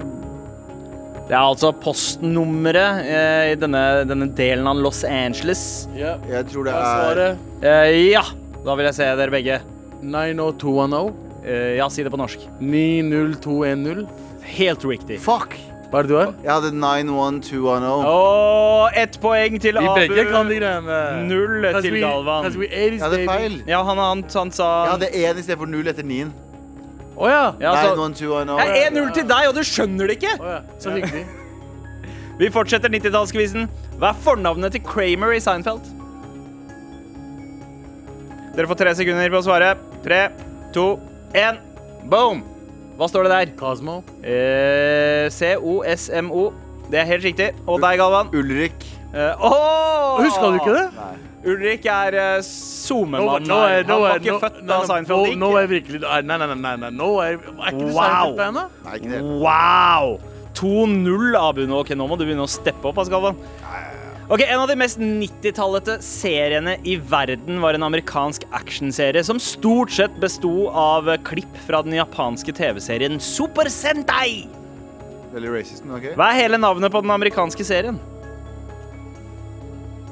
B: Det er altså postnummeret eh, i denne, denne delen av Los Angeles.
D: Ja.
C: Jeg tror det
D: Hva er
C: er
D: svaret?
B: Eh, Ja! Da vil jeg se dere begge.
D: 90210.
B: Eh, Ja, si det på norsk.
D: 90210.
B: Helt riktig.
C: Fuck!
D: Hva er det du har?
C: Jeg hadde 91210.
B: Og ett poeng til
D: Vi
B: Abu.
D: begge kan de greiene.
B: Null
D: Cause
B: til
D: we-
B: Galvan.
D: cause we 80s,
C: Jeg hadde
D: baby.
C: feil.
B: Ja, han, han, han sa
C: Jeg hadde én istedenfor null etter nien.
D: Å ja.
B: Ja, så-
C: 91210.
B: Det er 1-0 til deg, og du skjønner det ikke!
D: Å ja. Så hyggelig.
B: Vi fortsetter 90-tallskvisen. Hva er fornavnet til Kramer i Seinfeld? Dere får tre sekunder på å svare. Tre, to, én. Boom! Hva står det der?
D: Cosmo.
B: Eh, C-O-S-M-O. Det er helt riktig. Og deg, Galvan.
C: Ulrik.
B: Eh, åh!
D: Huska du ikke det?
B: Ulrik er eh, SoMe-mannen.
D: nå
B: her.
D: er-
B: Han
D: nå er-
B: var ikke
D: nå-
B: født
D: nei,
B: da
D: nei,
B: Seinfeld
D: nå-
B: gikk.
D: Nå er jeg virkelig Nei, nei, nei. nei, nei nå er, er ikke du
B: Wow.
D: Seinfeld-fan, da?
C: Nei, ikke det.
B: Wow! 2-0, Abu. Nå, ok, nå må du begynne å steppe opp. ass, Galvan. Ok, En av de mest 90-tallete seriene i verden var en amerikansk actionserie som stort sett besto av klipp fra den japanske TV-serien Super Sentai.
C: Veldig racist, men ok.
B: Hva er hele navnet på den amerikanske serien?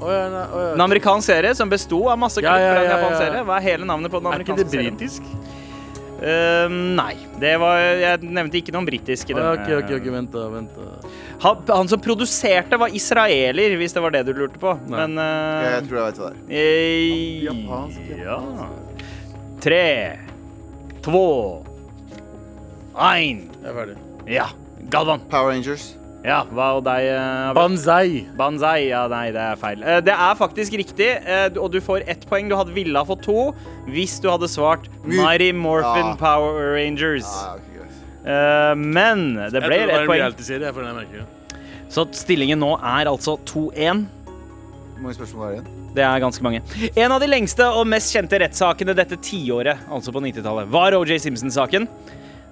D: Å ja, nei, å
B: En
D: ja.
B: amerikansk serie som besto av masse klipp
D: Ja, ja,
B: fra en
D: ja, ja,
B: japansk
D: ja.
B: serie. Hva er hele navnet på den
D: Er ikke det
B: amerikanske serien?
D: britisk?
B: Eh, nei. Det var, jeg nevnte ikke noe britisk. i
D: Å, ja,
B: denne-
D: ok, ok, ok, vent da, vent da.
B: Han, han som produserte, var israeler, hvis det var det du lurte på.
D: Nei.
B: Men
C: Ja,
B: eh,
C: Jeg tror jeg vet hva det er.
B: Eh,
C: Japansk,
B: Ja. Tre, två, ein.
D: Jeg er ferdig.
B: Ja. Galvan.
C: Power Rangers.
B: Ja, hva og deg? eh,
D: Banzai.
B: Banzai. Ja, nei, det er feil. Eh, Det er faktisk riktig, eh, og du får ett poeng. Du hadde ville ha fått to hvis du hadde svart
C: My-
B: Mighty Morphin
C: Ja.
B: Power Rangers.
C: Ah, ok, greit.
B: Eh, Men det
D: Jeg tror
B: ble
D: det var
B: ett
D: en
B: poeng.
D: realityserie, jeg føler jeg merker det.
B: Så stillingen nå er altså 2-1.
C: Hvor mange spørsmål er det igjen?
B: Det er ganske mange. En av de lengste og mest kjente rettssakene dette tiåret, altså på 90-tallet, var OJ Simpson-saken.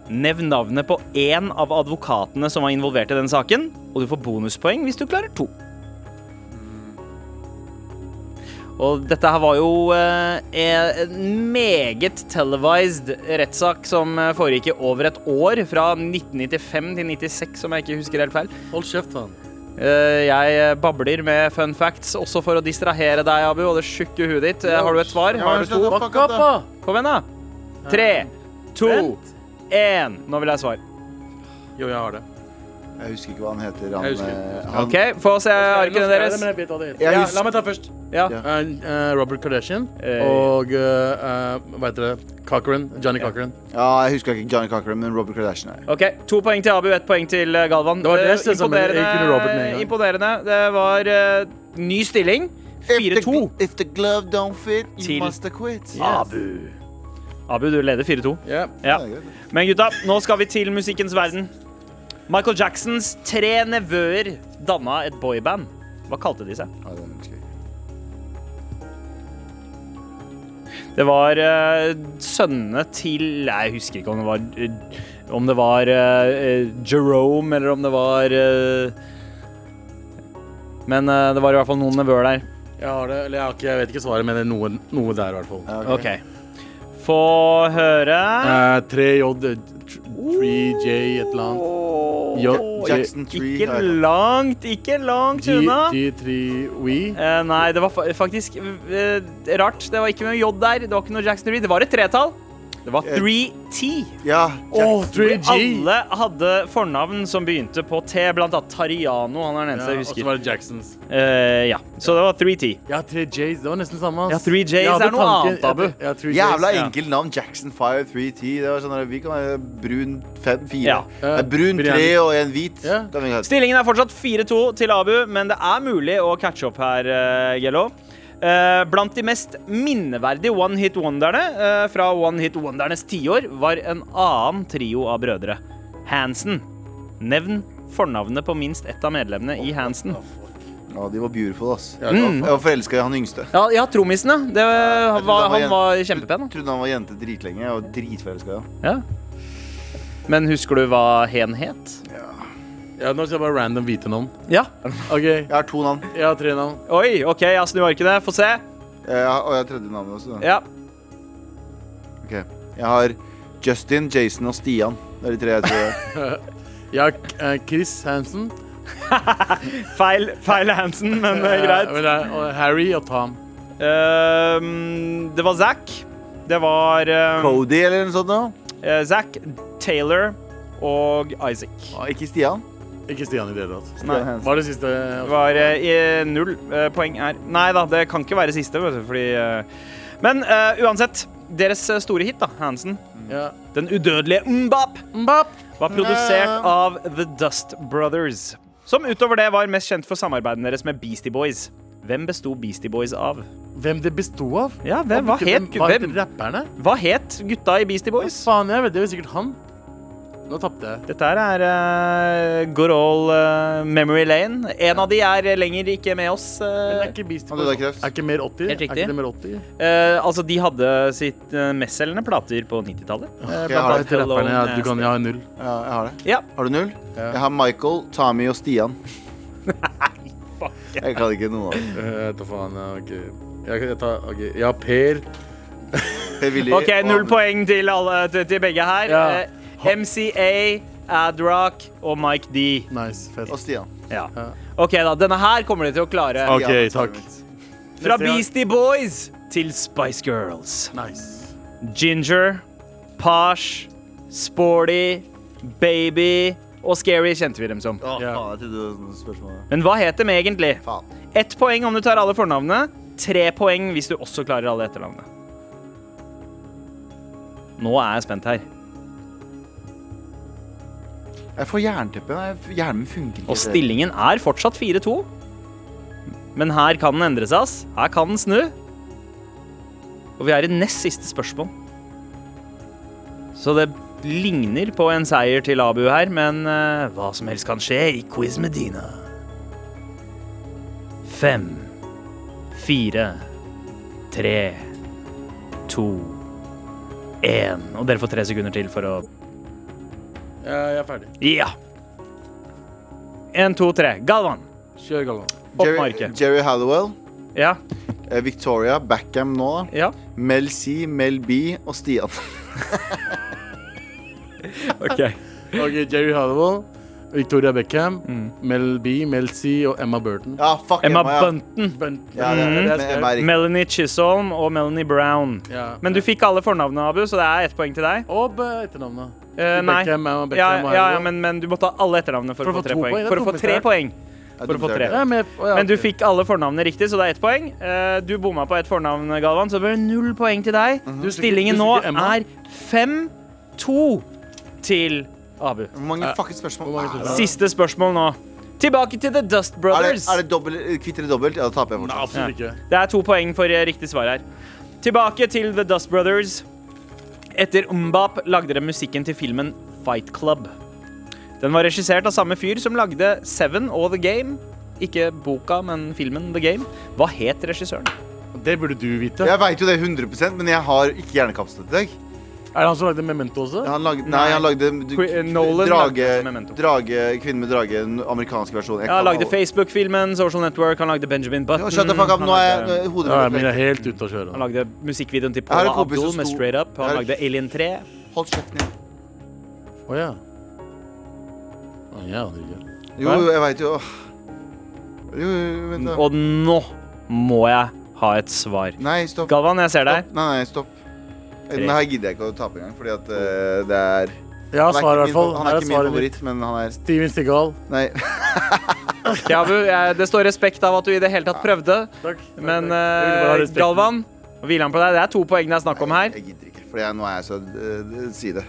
B: Nevn navnet på én av advokatene som var involvert i den saken, og du får bonuspoeng hvis du klarer to. Og dette her var jo eh, en meget televised rettssak som eh, foregikk i over et år, fra 1995 til 96, om jeg ikke husker helt feil.
D: Hold kjeft, han.
B: Eh, Jeg babler med fun facts, også for å distrahere deg, Abu, og det tjukke huet ditt. Eh, Har du et svar? Har du to?
C: Fuck up,
D: Fuck up,
C: da.
D: da.
B: Kom igjen, da. Tre, to,
D: Vent.
B: én. Nå vil jeg svar.
D: Jo, jeg har det.
C: Jeg husker ikke hva han heter. Han,
D: Jeg husker.
C: eh, han-
B: OK, få se arkene deres.
D: Men jeg vet hva det heter.
C: Jeg
D: Ja,
C: husker-
D: la meg ta først.
B: Ja.
C: Ja.
D: Eh, eh, Robert Kardashian
B: Eh.
D: og eh, eh, hva heter det? Cochran. Johnny Cochran.
C: Ja, jeg husker ikke Johnny Cochran, men Robert Kardashian er
B: OK, to poeng til Abu, ett poeng til eh, Galvan.
D: Det var det jeg
B: Eh,
D: sa som jeg kunne Robert med en gang.
B: imponerende. Det var eh, ny stilling. 4-2.
C: If the glove don't fit, you
B: Til-
C: must Ah, have quit.
B: Abu. Abu, du leder 4-2.
D: Ja.
B: Ja.
C: det er greit.
B: Men gutta, nå skal vi til musikkens verden. Michael Jacksons tre nevøer danna et boyband.
C: ah,
B: Hva kalte de seg?
C: Ja, den husker jeg ikke.
B: Det var eh, sønnene til Nei, Jeg husker ikke om det var eh, Om det var eh, eh, Jerome, eller om det var eh, Men eh, det var i hvert fall noen nevøer der.
D: Jeg har det, eller jeg, har ikke, jeg vet ikke svaret, men det er noe, noe der, i hvert fall.
B: OK. Få høre.
D: Eh, 3J, 3J, et eller annet.
B: Åh,
D: Jo,
C: Jackson Tree
B: Ikke
C: har jeg hørt.
B: langt, ikke langt
D: G,
B: unna.
D: G3We.
B: Eh, nei, det var fa faktisk eh, rart. Det var ikke noe J der. Det var ikke noe Jackson Reed. Det var et tretall. Det
D: Eh,
B: var 3T.
C: Ja,
D: Å,
C: Jack
D: 3G!
B: Alle hadde fornavn som begynte på T, blant annet Tariano. Han er den
D: Ja,
B: eneste jeg
D: og så
B: husker.
D: var det Jacksons.
B: Eh, ja, Så det var 3T.
D: Ja, 3Js. Det var nesten samme. ass.
B: Ja, 3Js
D: Jeg hadde
B: er noe
D: tanken-
B: annet, Abu.
D: Ja, 3Js,
C: Jævla
D: ja.
C: enkelt navn. Jackson 5, 3T. Det var sånn, Vi kan være brun 5, 4.
B: Ja.
C: Nei, brun
D: Brian-
C: 3 og en hvit.
D: Ja.
C: Kan vi ha.
B: Stillingen er fortsatt 4-2 til Abu, men det er mulig å catche opp her, eh, Gello. Eh, blant de mest minneverdige One Hit Wonderne eh, fra One Hit Wondernes tiår var en annen trio av brødre. Hansen. Nevn fornavnet på minst ett av medlemmene i Hansen.
C: Ja, de var beautiful, ass. Mm.
D: Ja, det var
C: Jeg var forelska i han yngste.
B: Ja, ja trommisen, ja. Det var, han var kjempepen.
C: Trodde han var jente dritlenge. Jeg var dritforelska i han.
B: Ja. Men husker du hva hen het?
D: Ja, nå skal jeg bare random vite navn.
B: Ja.
D: OK,
C: Jeg har to navn.
D: jeg har tre navn.
B: Oi, OK, jeg snur arkene. Få se.
C: Jeg har, og jeg har tredje navnet også. da.
B: Ja.
C: Ok. Jeg har Justin, Jason og Stian. Det er de tre jeg tror. jeg-
D: Jeg har eh, Chris Hansen.
B: Feil, feil Hansen, men eh, greit.
D: Eh, men det er- og Harry og Tom.
B: Ehm, det var Zack. Det var um,
C: Cody eller noe sånt. nå.
B: Zack, Taylor og Isaac.
C: Ah, Ikke Stian.
D: Ikke Stian i det hele tatt.
C: Stian Hansen.
D: Hva er det siste?
B: Det var eh, i null eh, poeng her. Nei da, det kan ikke være siste, vet du, fordi eh, Men eh, uansett. Deres eh, store hit, da, Hansen,
D: Ja.
B: den udødelige Mbap,
D: Mbapp.
B: var produsert av The Dust Brothers. Som utover det var mest kjent for samarbeidet deres med Beastie Boys. Hvem besto Beastie Boys av?
D: Hvem det bestod av?
B: Ja, hvem, hva, het,
D: Hva het
B: hvem,
D: rapperne?
B: hva het gutta i Beastie Boys?
D: Faen, jeg vet, det var sikkert han. Nå tapte jeg.
B: Dette her er uh, good old eh, memory lane. En av de er lenger ikke med oss.
D: Men
B: eh.
D: er ikke Beastie
C: Han døde av
D: Boys-
C: kreft.
D: Er ikke mer 80?
B: Helt riktig.
D: Er ikke det mer 80?
B: Eh, altså, de hadde sitt eh, mestselgende plater på 90-tallet. Eh,
C: jeg har
B: blant
C: det
B: annet Hello
D: Rapperne, ja, du
B: Nasty.
D: kan ja, null.
C: Ja, jeg har det.
B: Ja.
C: Har du null? Jeg har Michael, Tommy og Stian. Jeg kan ikke noen av dem.
D: Eh, Jeg tar faen, ja, ok. Jeg, jeg tar, ok. Jeg har Per.
C: Per Willy
B: OK,
C: og-
B: null poeng til, alle, til, til begge her.
D: Ja.
B: Eh, MCA, Adrock og Mike D.
D: Nice, fett.
C: Og Stian.
B: Ja. OK, da. Denne her kommer de til å klare.
D: Ok,
C: Stian,
D: takk.
B: Fra
D: neste gang.
B: Beastie Boys til Spice Girls.
D: Nice.
B: Ginger, Posh, Sporty, Baby og Scary kjente vi dem som.
C: Å,
D: Ja.
C: faen, jeg trodde det var sånn spørsmål.
B: Men hva het dem egentlig?
C: Faen.
B: Ett poeng om du tar alle fornavnene. Tre poeng hvis du også klarer alle etternavnene. Nå er jeg spent her.
C: Jeg får jernteppe. nei, f- Hjernen min funker ikke.
B: Og stillingen er fortsatt 4-2. Men her kan den endre seg, ass. Her kan den snu. Og vi er i nest siste spørsmål. Så det ligner på en seier til Abu her, men eh, hva som helst kan skje i Quiz Medina. Fem, fire, tre, to, én. Og dere får tre sekunder til for å
D: Jeg, jeg er ferdig.
B: Ja! Én, to, tre. Galvan.
D: Kjør, Galvan.
B: oppmarket.
C: Jerry, Jerry Hallowell,
B: Ja.
C: eh, Victoria, Backham nå, da.
B: Ja.
C: Mel C, Mel B og Stian.
B: Ok.
D: Ok, Jerry Hallowell, Victoria Beckham,
B: Mm.
D: Mel B, Mel C og Emma Burton.
C: Ja, fuck
B: Emma
C: ja.
B: Bunton,
D: Bunt.
C: Ja, det,
D: Mm.
C: det, men Emma er riktig.
B: Melanie Chisholm og Melanie Brown.
D: Ja.
B: Men du fikk alle fornavnene, Abu, så det er ett poeng til deg.
D: Og eh, etternavnet.
B: Eh, nei.
D: Beckham, Emma Beckham
B: Ja, ja,
D: og
B: ja,
D: Hallowell.
B: men, men du må ta alle etternavnene for, å få tre poeng.
D: det er
B: For å få
D: dummeste
B: tre
D: her.
B: poeng.
C: Jeg
B: for å få
C: dumte
B: tre.
C: deg.
D: Jeg er med. Å, ja,
B: Men du
D: ok.
B: fikk alle fornavnene riktig, så det er ett poeng. Eh, du bomma på ett fornavn, Galvan, så det ble null poeng til deg.
D: Mhm. Du husker-
B: Stillingen
D: du
B: nå
D: husker Emma?
B: er 5-2 til Abu.
C: Hvor mange fucking spørsmål
D: Hvor mange
C: er det?
D: spørsmål?
B: Siste spørsmål nå. Tilbake til The Dust
C: Er det,
B: Brothers.
C: er det dobbelt, kvitt eller dobbelt? Ja, da taper jeg
D: Nei,
C: fortsatt.
D: absolutt ikke.
B: Det er to poeng for eh, riktig svar her. Tilbake til The Dust Brothers. Etter Umbap lagde de musikken til filmen Fight Club. Den var regissert av samme fyr som lagde Seven og The Game. Ikke boka, men filmen The Game. Hva het regissøren?
D: Det burde du vite.
C: Jeg veit jo det 100 men jeg har ikke hjernekapslet i dag.
D: Er det han som lagde Memento også?
C: Han lagde, nei, han lagde du,
B: Qui- eh, Nolan
C: drage,
B: lagde Memento.
C: drage, Kvinne med drage, den amerikanske versjonen. Jeg
B: Ja,
C: kan
B: han lagde
C: alle-
B: Facebook-filmen, Social Network, han lagde Benjamin
C: Ja,
B: Button.
C: Shut the fuck
B: Mm,
C: up,
B: han
C: nå er jeg,
B: lagde-
C: nå er hodet
D: Ja,
C: mitt
D: min er
C: helt
D: helt ute å kjøre.
B: Han lagde musikkvideoen til
C: Jeg har en
B: Paula
C: kompis som
B: Abdul med
C: sto-
B: Straight Up.
C: Jeg
B: Han
C: har-
B: lagde Alien 3.
C: Hold kjeften din.
D: Å ja. Å, jeg aner ikke.
C: Jo, jo, jeg veit jo Åh. Jo, jo, vent da.
B: Og nå må jeg ha et svar.
C: Nei, stopp.
B: Galvan, jeg ser deg.
C: Stopp. Nei, nei, stopp. Den her gidder jeg ikke å tape engang, fordi at eh, det er
D: Jeg
C: Han er
D: har svaret i
C: ikke
D: hvert
C: min,
D: fall.
C: favor- han
D: Her
C: er
D: er
C: ikke min
D: svaret mitt.
C: favoritt, men han er
D: Steven Stigall.
C: Nei.
B: Kjabu, jeg, eh, det står respekt av at du i det hele tatt prøvde.
D: Takk.
B: Men
D: Jeg vil bare ha
B: eh,
D: respekten.
B: Galvan, nå hviler han på deg. Det er to poeng det er snakk om her.
C: Jeg gidder ikke, for jeg, nå er jeg så eh, Si det.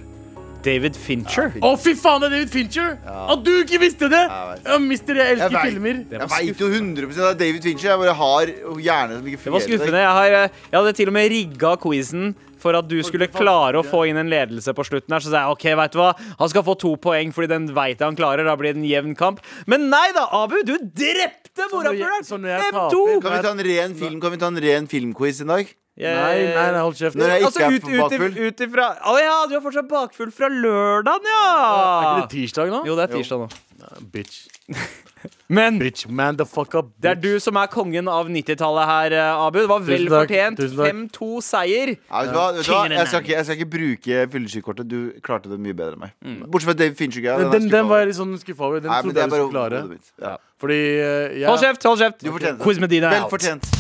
B: David Fincher.
D: Å, fy faen, det er David Fincher! At du ikke visste det!
C: Ja, jeg vet.
D: Ja, mister, jeg elsker
C: Jeg vet.
D: filmer.
B: Det
C: Jeg
B: var
C: veit jo 100 av David Fincher. Jeg bare har hjerne som ikke
B: Det var
C: fungerer.
B: skuffende. Jeg, har, eh, jeg hadde til og med rigga quizen for at du skulle klare å få inn en ledelse på slutten. her Så sa jeg ok, vet du hva, han skal få to poeng fordi den veit jeg han klarer. Da blir det en jevn kamp. Men nei da, Abu! Du drepte
D: når jeg-
B: morapuleren!
D: så når jeg
B: 5-2!
D: taper-
C: Kan vi ta en ren film Kan vi ta en ren filmquiz i dag?
B: Eh,
D: Nei, nei, nei, hold kjeft.
C: Når jeg
B: Altså,
C: ikke er
B: ut,
C: for
B: ut,
C: bakfull?
B: ut ifra Å ja, du er fortsatt bakfull fra lørdagen,
D: Er ikke
B: ja!
D: det tirsdag nå?
B: Jo, det er tirsdag nå.
D: Bitch.
B: Men
D: Bitch, man the fuck up.
B: det er du som er kongen av 90-tallet her, eh, Abu. Det var vel
D: Tusen takk,
B: fortjent.
D: tusen takk.
B: 5-2-seier.
C: Ja, vet du hva? Vet du hva?
B: King of the
C: Jeg, skal ikke, jeg skal ikke bruke fyllesykekortet. Du klarte det mye bedre enn meg.
D: Mm.
C: Bortsett fra David Fincher.
D: Den, den, den var jeg litt sånn skuffa over. Den
C: Nei, men
D: trodde
C: det er
D: jeg du
C: bare
D: skulle klare.
C: hodet mitt. Ja.
D: Fordi eh, jeg
B: Hold kjeft, hold kjeft.
C: Du fortjente det.
B: Quiz Medina er
C: Vel
B: out.
C: fortjent.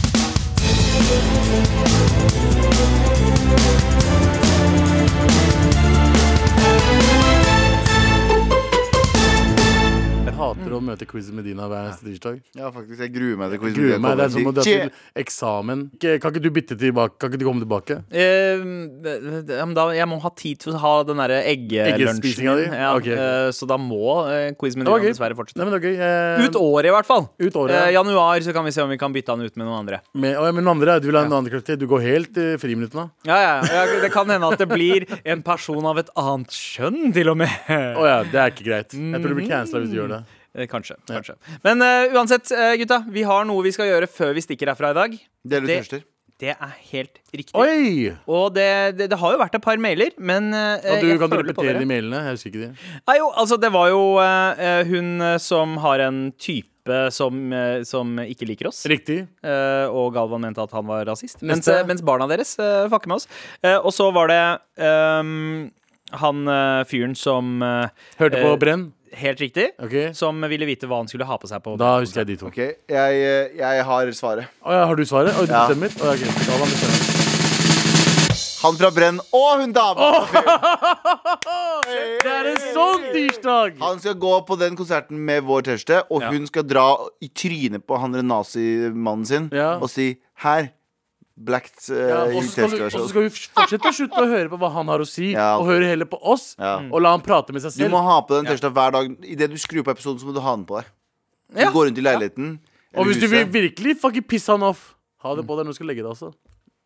D: Jeg hater å møte Quiz Medina hver eneste tirsdag.
C: Ja, faktisk. Jeg gruer meg til quizen.
D: Gruer meg. Det er som å dra til
C: Shit.
D: eksamen. Ikke- Kan ikke du bytte tilbake? Kan ikke du komme tilbake?
B: Eh, ja, men da, jeg må ha tid til å ha den derre eggelunsjen.
D: Eggespisinga di?
B: min. Ja,
D: Ok.
B: eh, så da må uh, quiz med
D: Det var
B: Nyland
D: gøy.
B: dessverre fortsette.
D: Nei, men det var gøy. Eh,
B: Ut året, i hvert fall.
D: Ut året, ja.
B: Eh, januar, så kan vi se om vi kan bytte han ut med noen andre.
D: med, å, ja, men den andre, er- Du vil ha en annen karakter? Du går helt eh, i friminuttene?
B: Ja, ja, ja, Det kan hende at det blir en person av et annet kjønn, til og med.
D: Å ja, det er ikke greit. Mm. Jeg tror du blir cancela hvis du gjør det.
B: Eh, Kanskje. kanskje Men eh, uansett, eh, gutta. Vi har noe vi skal gjøre før vi stikker herfra i dag.
C: Dele ut
B: Det-
C: tørster.
B: Det er helt riktig.
D: Oi!
B: Og det, det, det har jo vært et par mailer, men eh,
D: Og du
B: jeg
D: kan
B: føler på dere.
D: repetere de mailene. Jeg husker ikke de.
B: Nei, jo, altså det var jo eh, eh, hun eh, som har en type som, eh, som ikke liker oss.
D: Riktig.
B: Eh, og Galvan mente at han var rasist. Mens,
D: Neste.
B: eh, mens barna deres eh, fucker med oss. Eh, og så var det ehm, han eh, fyren som eh,
D: Hørte på
B: eh,
D: Brenn.
B: Helt riktig.
D: Ok.
B: Som ville vite hva han skulle ha på seg på
D: Da husker jeg de to.
C: Ok, jeg, jeg har svaret.
D: Å, ja, har du svaret? Å, du
C: Ja.
D: bestemmer? Å, ja, ok. Da var det bestemt.
C: Han fra Brenn og hun dama!
D: Det er en sånn tirsdag!
C: Han skal gå på den konserten med vår tørste, og
B: Ja.
C: hun skal dra i trynet på han der nazimannen sin
D: Ja.
C: og si 'her'. Black uh,
D: Ja,
C: ja,
D: og så skal, du- og så skal vi fortsette å slutte å høre på hva han har å si,
C: Ja.
D: og høre heller på oss.
C: Ja.
D: Og la han prate med seg
C: Du
D: selv.
C: må ha på den tørsta hver dag. Idet du skrur på episoden, så må du ha den på deg. Du
B: Ja.
C: går rundt i leiligheten.
D: og
C: eller
D: hvis du vil
C: huset.
D: virkelig fucking pisse han off, ha det på deg når du skal legge deg også.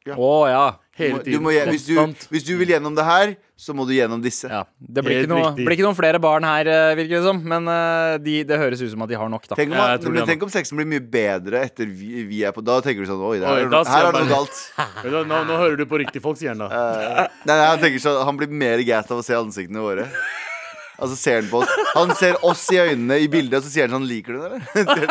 B: Å ja.
D: Hele
C: du
D: tiden.
C: må, hvis, du,
D: Konstant.
C: hvis du vil gjennom det her, så må du gjennom disse.
B: ja. Det blir
D: Helt
B: ikke, noe,
D: riktig.
B: blir ikke noen flere barn her, eh, virker det som. Men eh, de, det høres ut som at de har nok, da.
C: Tenk om,
D: Ja, jeg tror
C: men
D: det,
C: tenk om sexen blir mye bedre etter vi, vi er på Da tenker du sånn Oi, det
D: Oi,
C: her, er
D: da
C: no-
D: ser
C: her er det
D: man-
C: noe galt.
D: Vet du hva, Nå, nå hører du på riktig folks hjerne. da.
C: Eh, nei, nei, han tenker sånn Han blir mer gassed av å se ansiktene våre. Altså ser Han på oss Han ser oss i øynene i bildet, og så sier han sånn Liker du det, eller?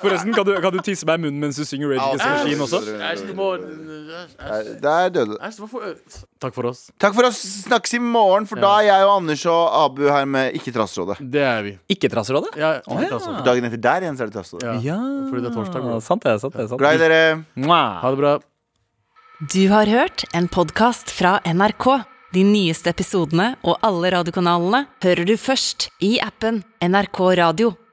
B: Forresten, kan du, kan du tisse meg i munnen mens du synger Rage Against the Machine også?
D: Æsj, du må- æsj,
C: Nei, Der døde du.
D: æsj, hvorfor- Takk for oss.
C: Takk for oss. Snakkes i morgen, for da er jeg og Anders og Abu her med Ikke Trassrådet.
D: Det er vi.
B: Ikke Trasserådet?
D: Ja,
B: ja.
D: altså.
C: Dagen etter der igjen så er det Trassrådet.
D: Ja. Fordi det er torsdag, bro.
B: Sant det. sant det, sant
C: Glad i
B: det.
C: dere.
B: Mwah.
D: Ha det bra.
A: Du har hørt en podkast fra NRK. De nyeste episodene og alle radiokanalene hører du først i appen NRK Radio.